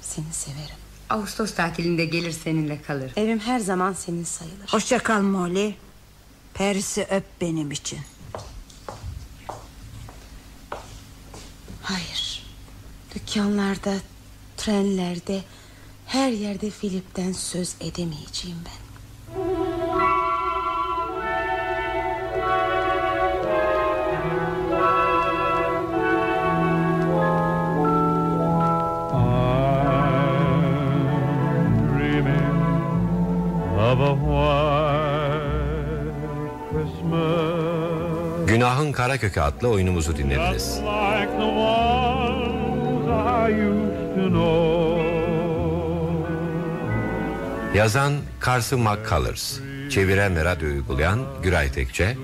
Speaker 5: Seni severim.
Speaker 7: Ağustos tatilinde gelir seninle kalır.
Speaker 5: Evim her zaman senin sayılır.
Speaker 8: Hoşça kal Molly Paris'i öp benim için
Speaker 5: Hayır. Dükkanlarda, trenlerde, her yerde Filip'ten söz edemeyeceğim ben.
Speaker 3: I'm dreaming of a white Christmas.
Speaker 2: Günahın Karakökü adlı oyunumuzu dinlediniz.
Speaker 3: Just like the ones I used to know.
Speaker 2: Yazan Karsı Colors Çeviren ve radyo uygulayan Güray Tekçe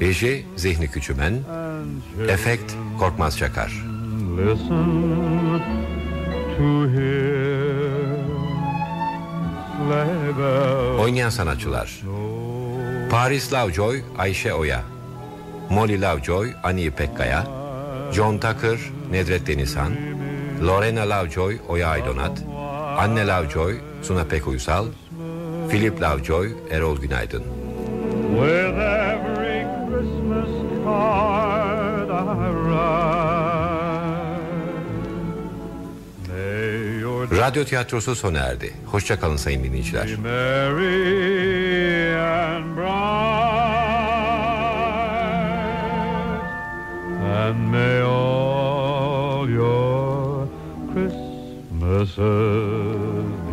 Speaker 2: Reji Zihni Küçümen Efekt Korkmaz Çakar
Speaker 3: listen to hear sleigh bells.
Speaker 2: Oynayan sanatçılar Paris Lovejoy Ayşe Oya Molly Lovejoy Ani İpekkaya John Tucker Nedret Denizhan Lorena Lovejoy Oya Aydonat Anne Lovejoy Suna Pek Uysal Philip Lovejoy Erol Günaydın
Speaker 3: With every Christmas card I write, may your
Speaker 2: Radyo tiyatrosu sona erdi. Hoşça kalın sayın dinleyiciler.
Speaker 3: be merry and bright, and may all your Christmases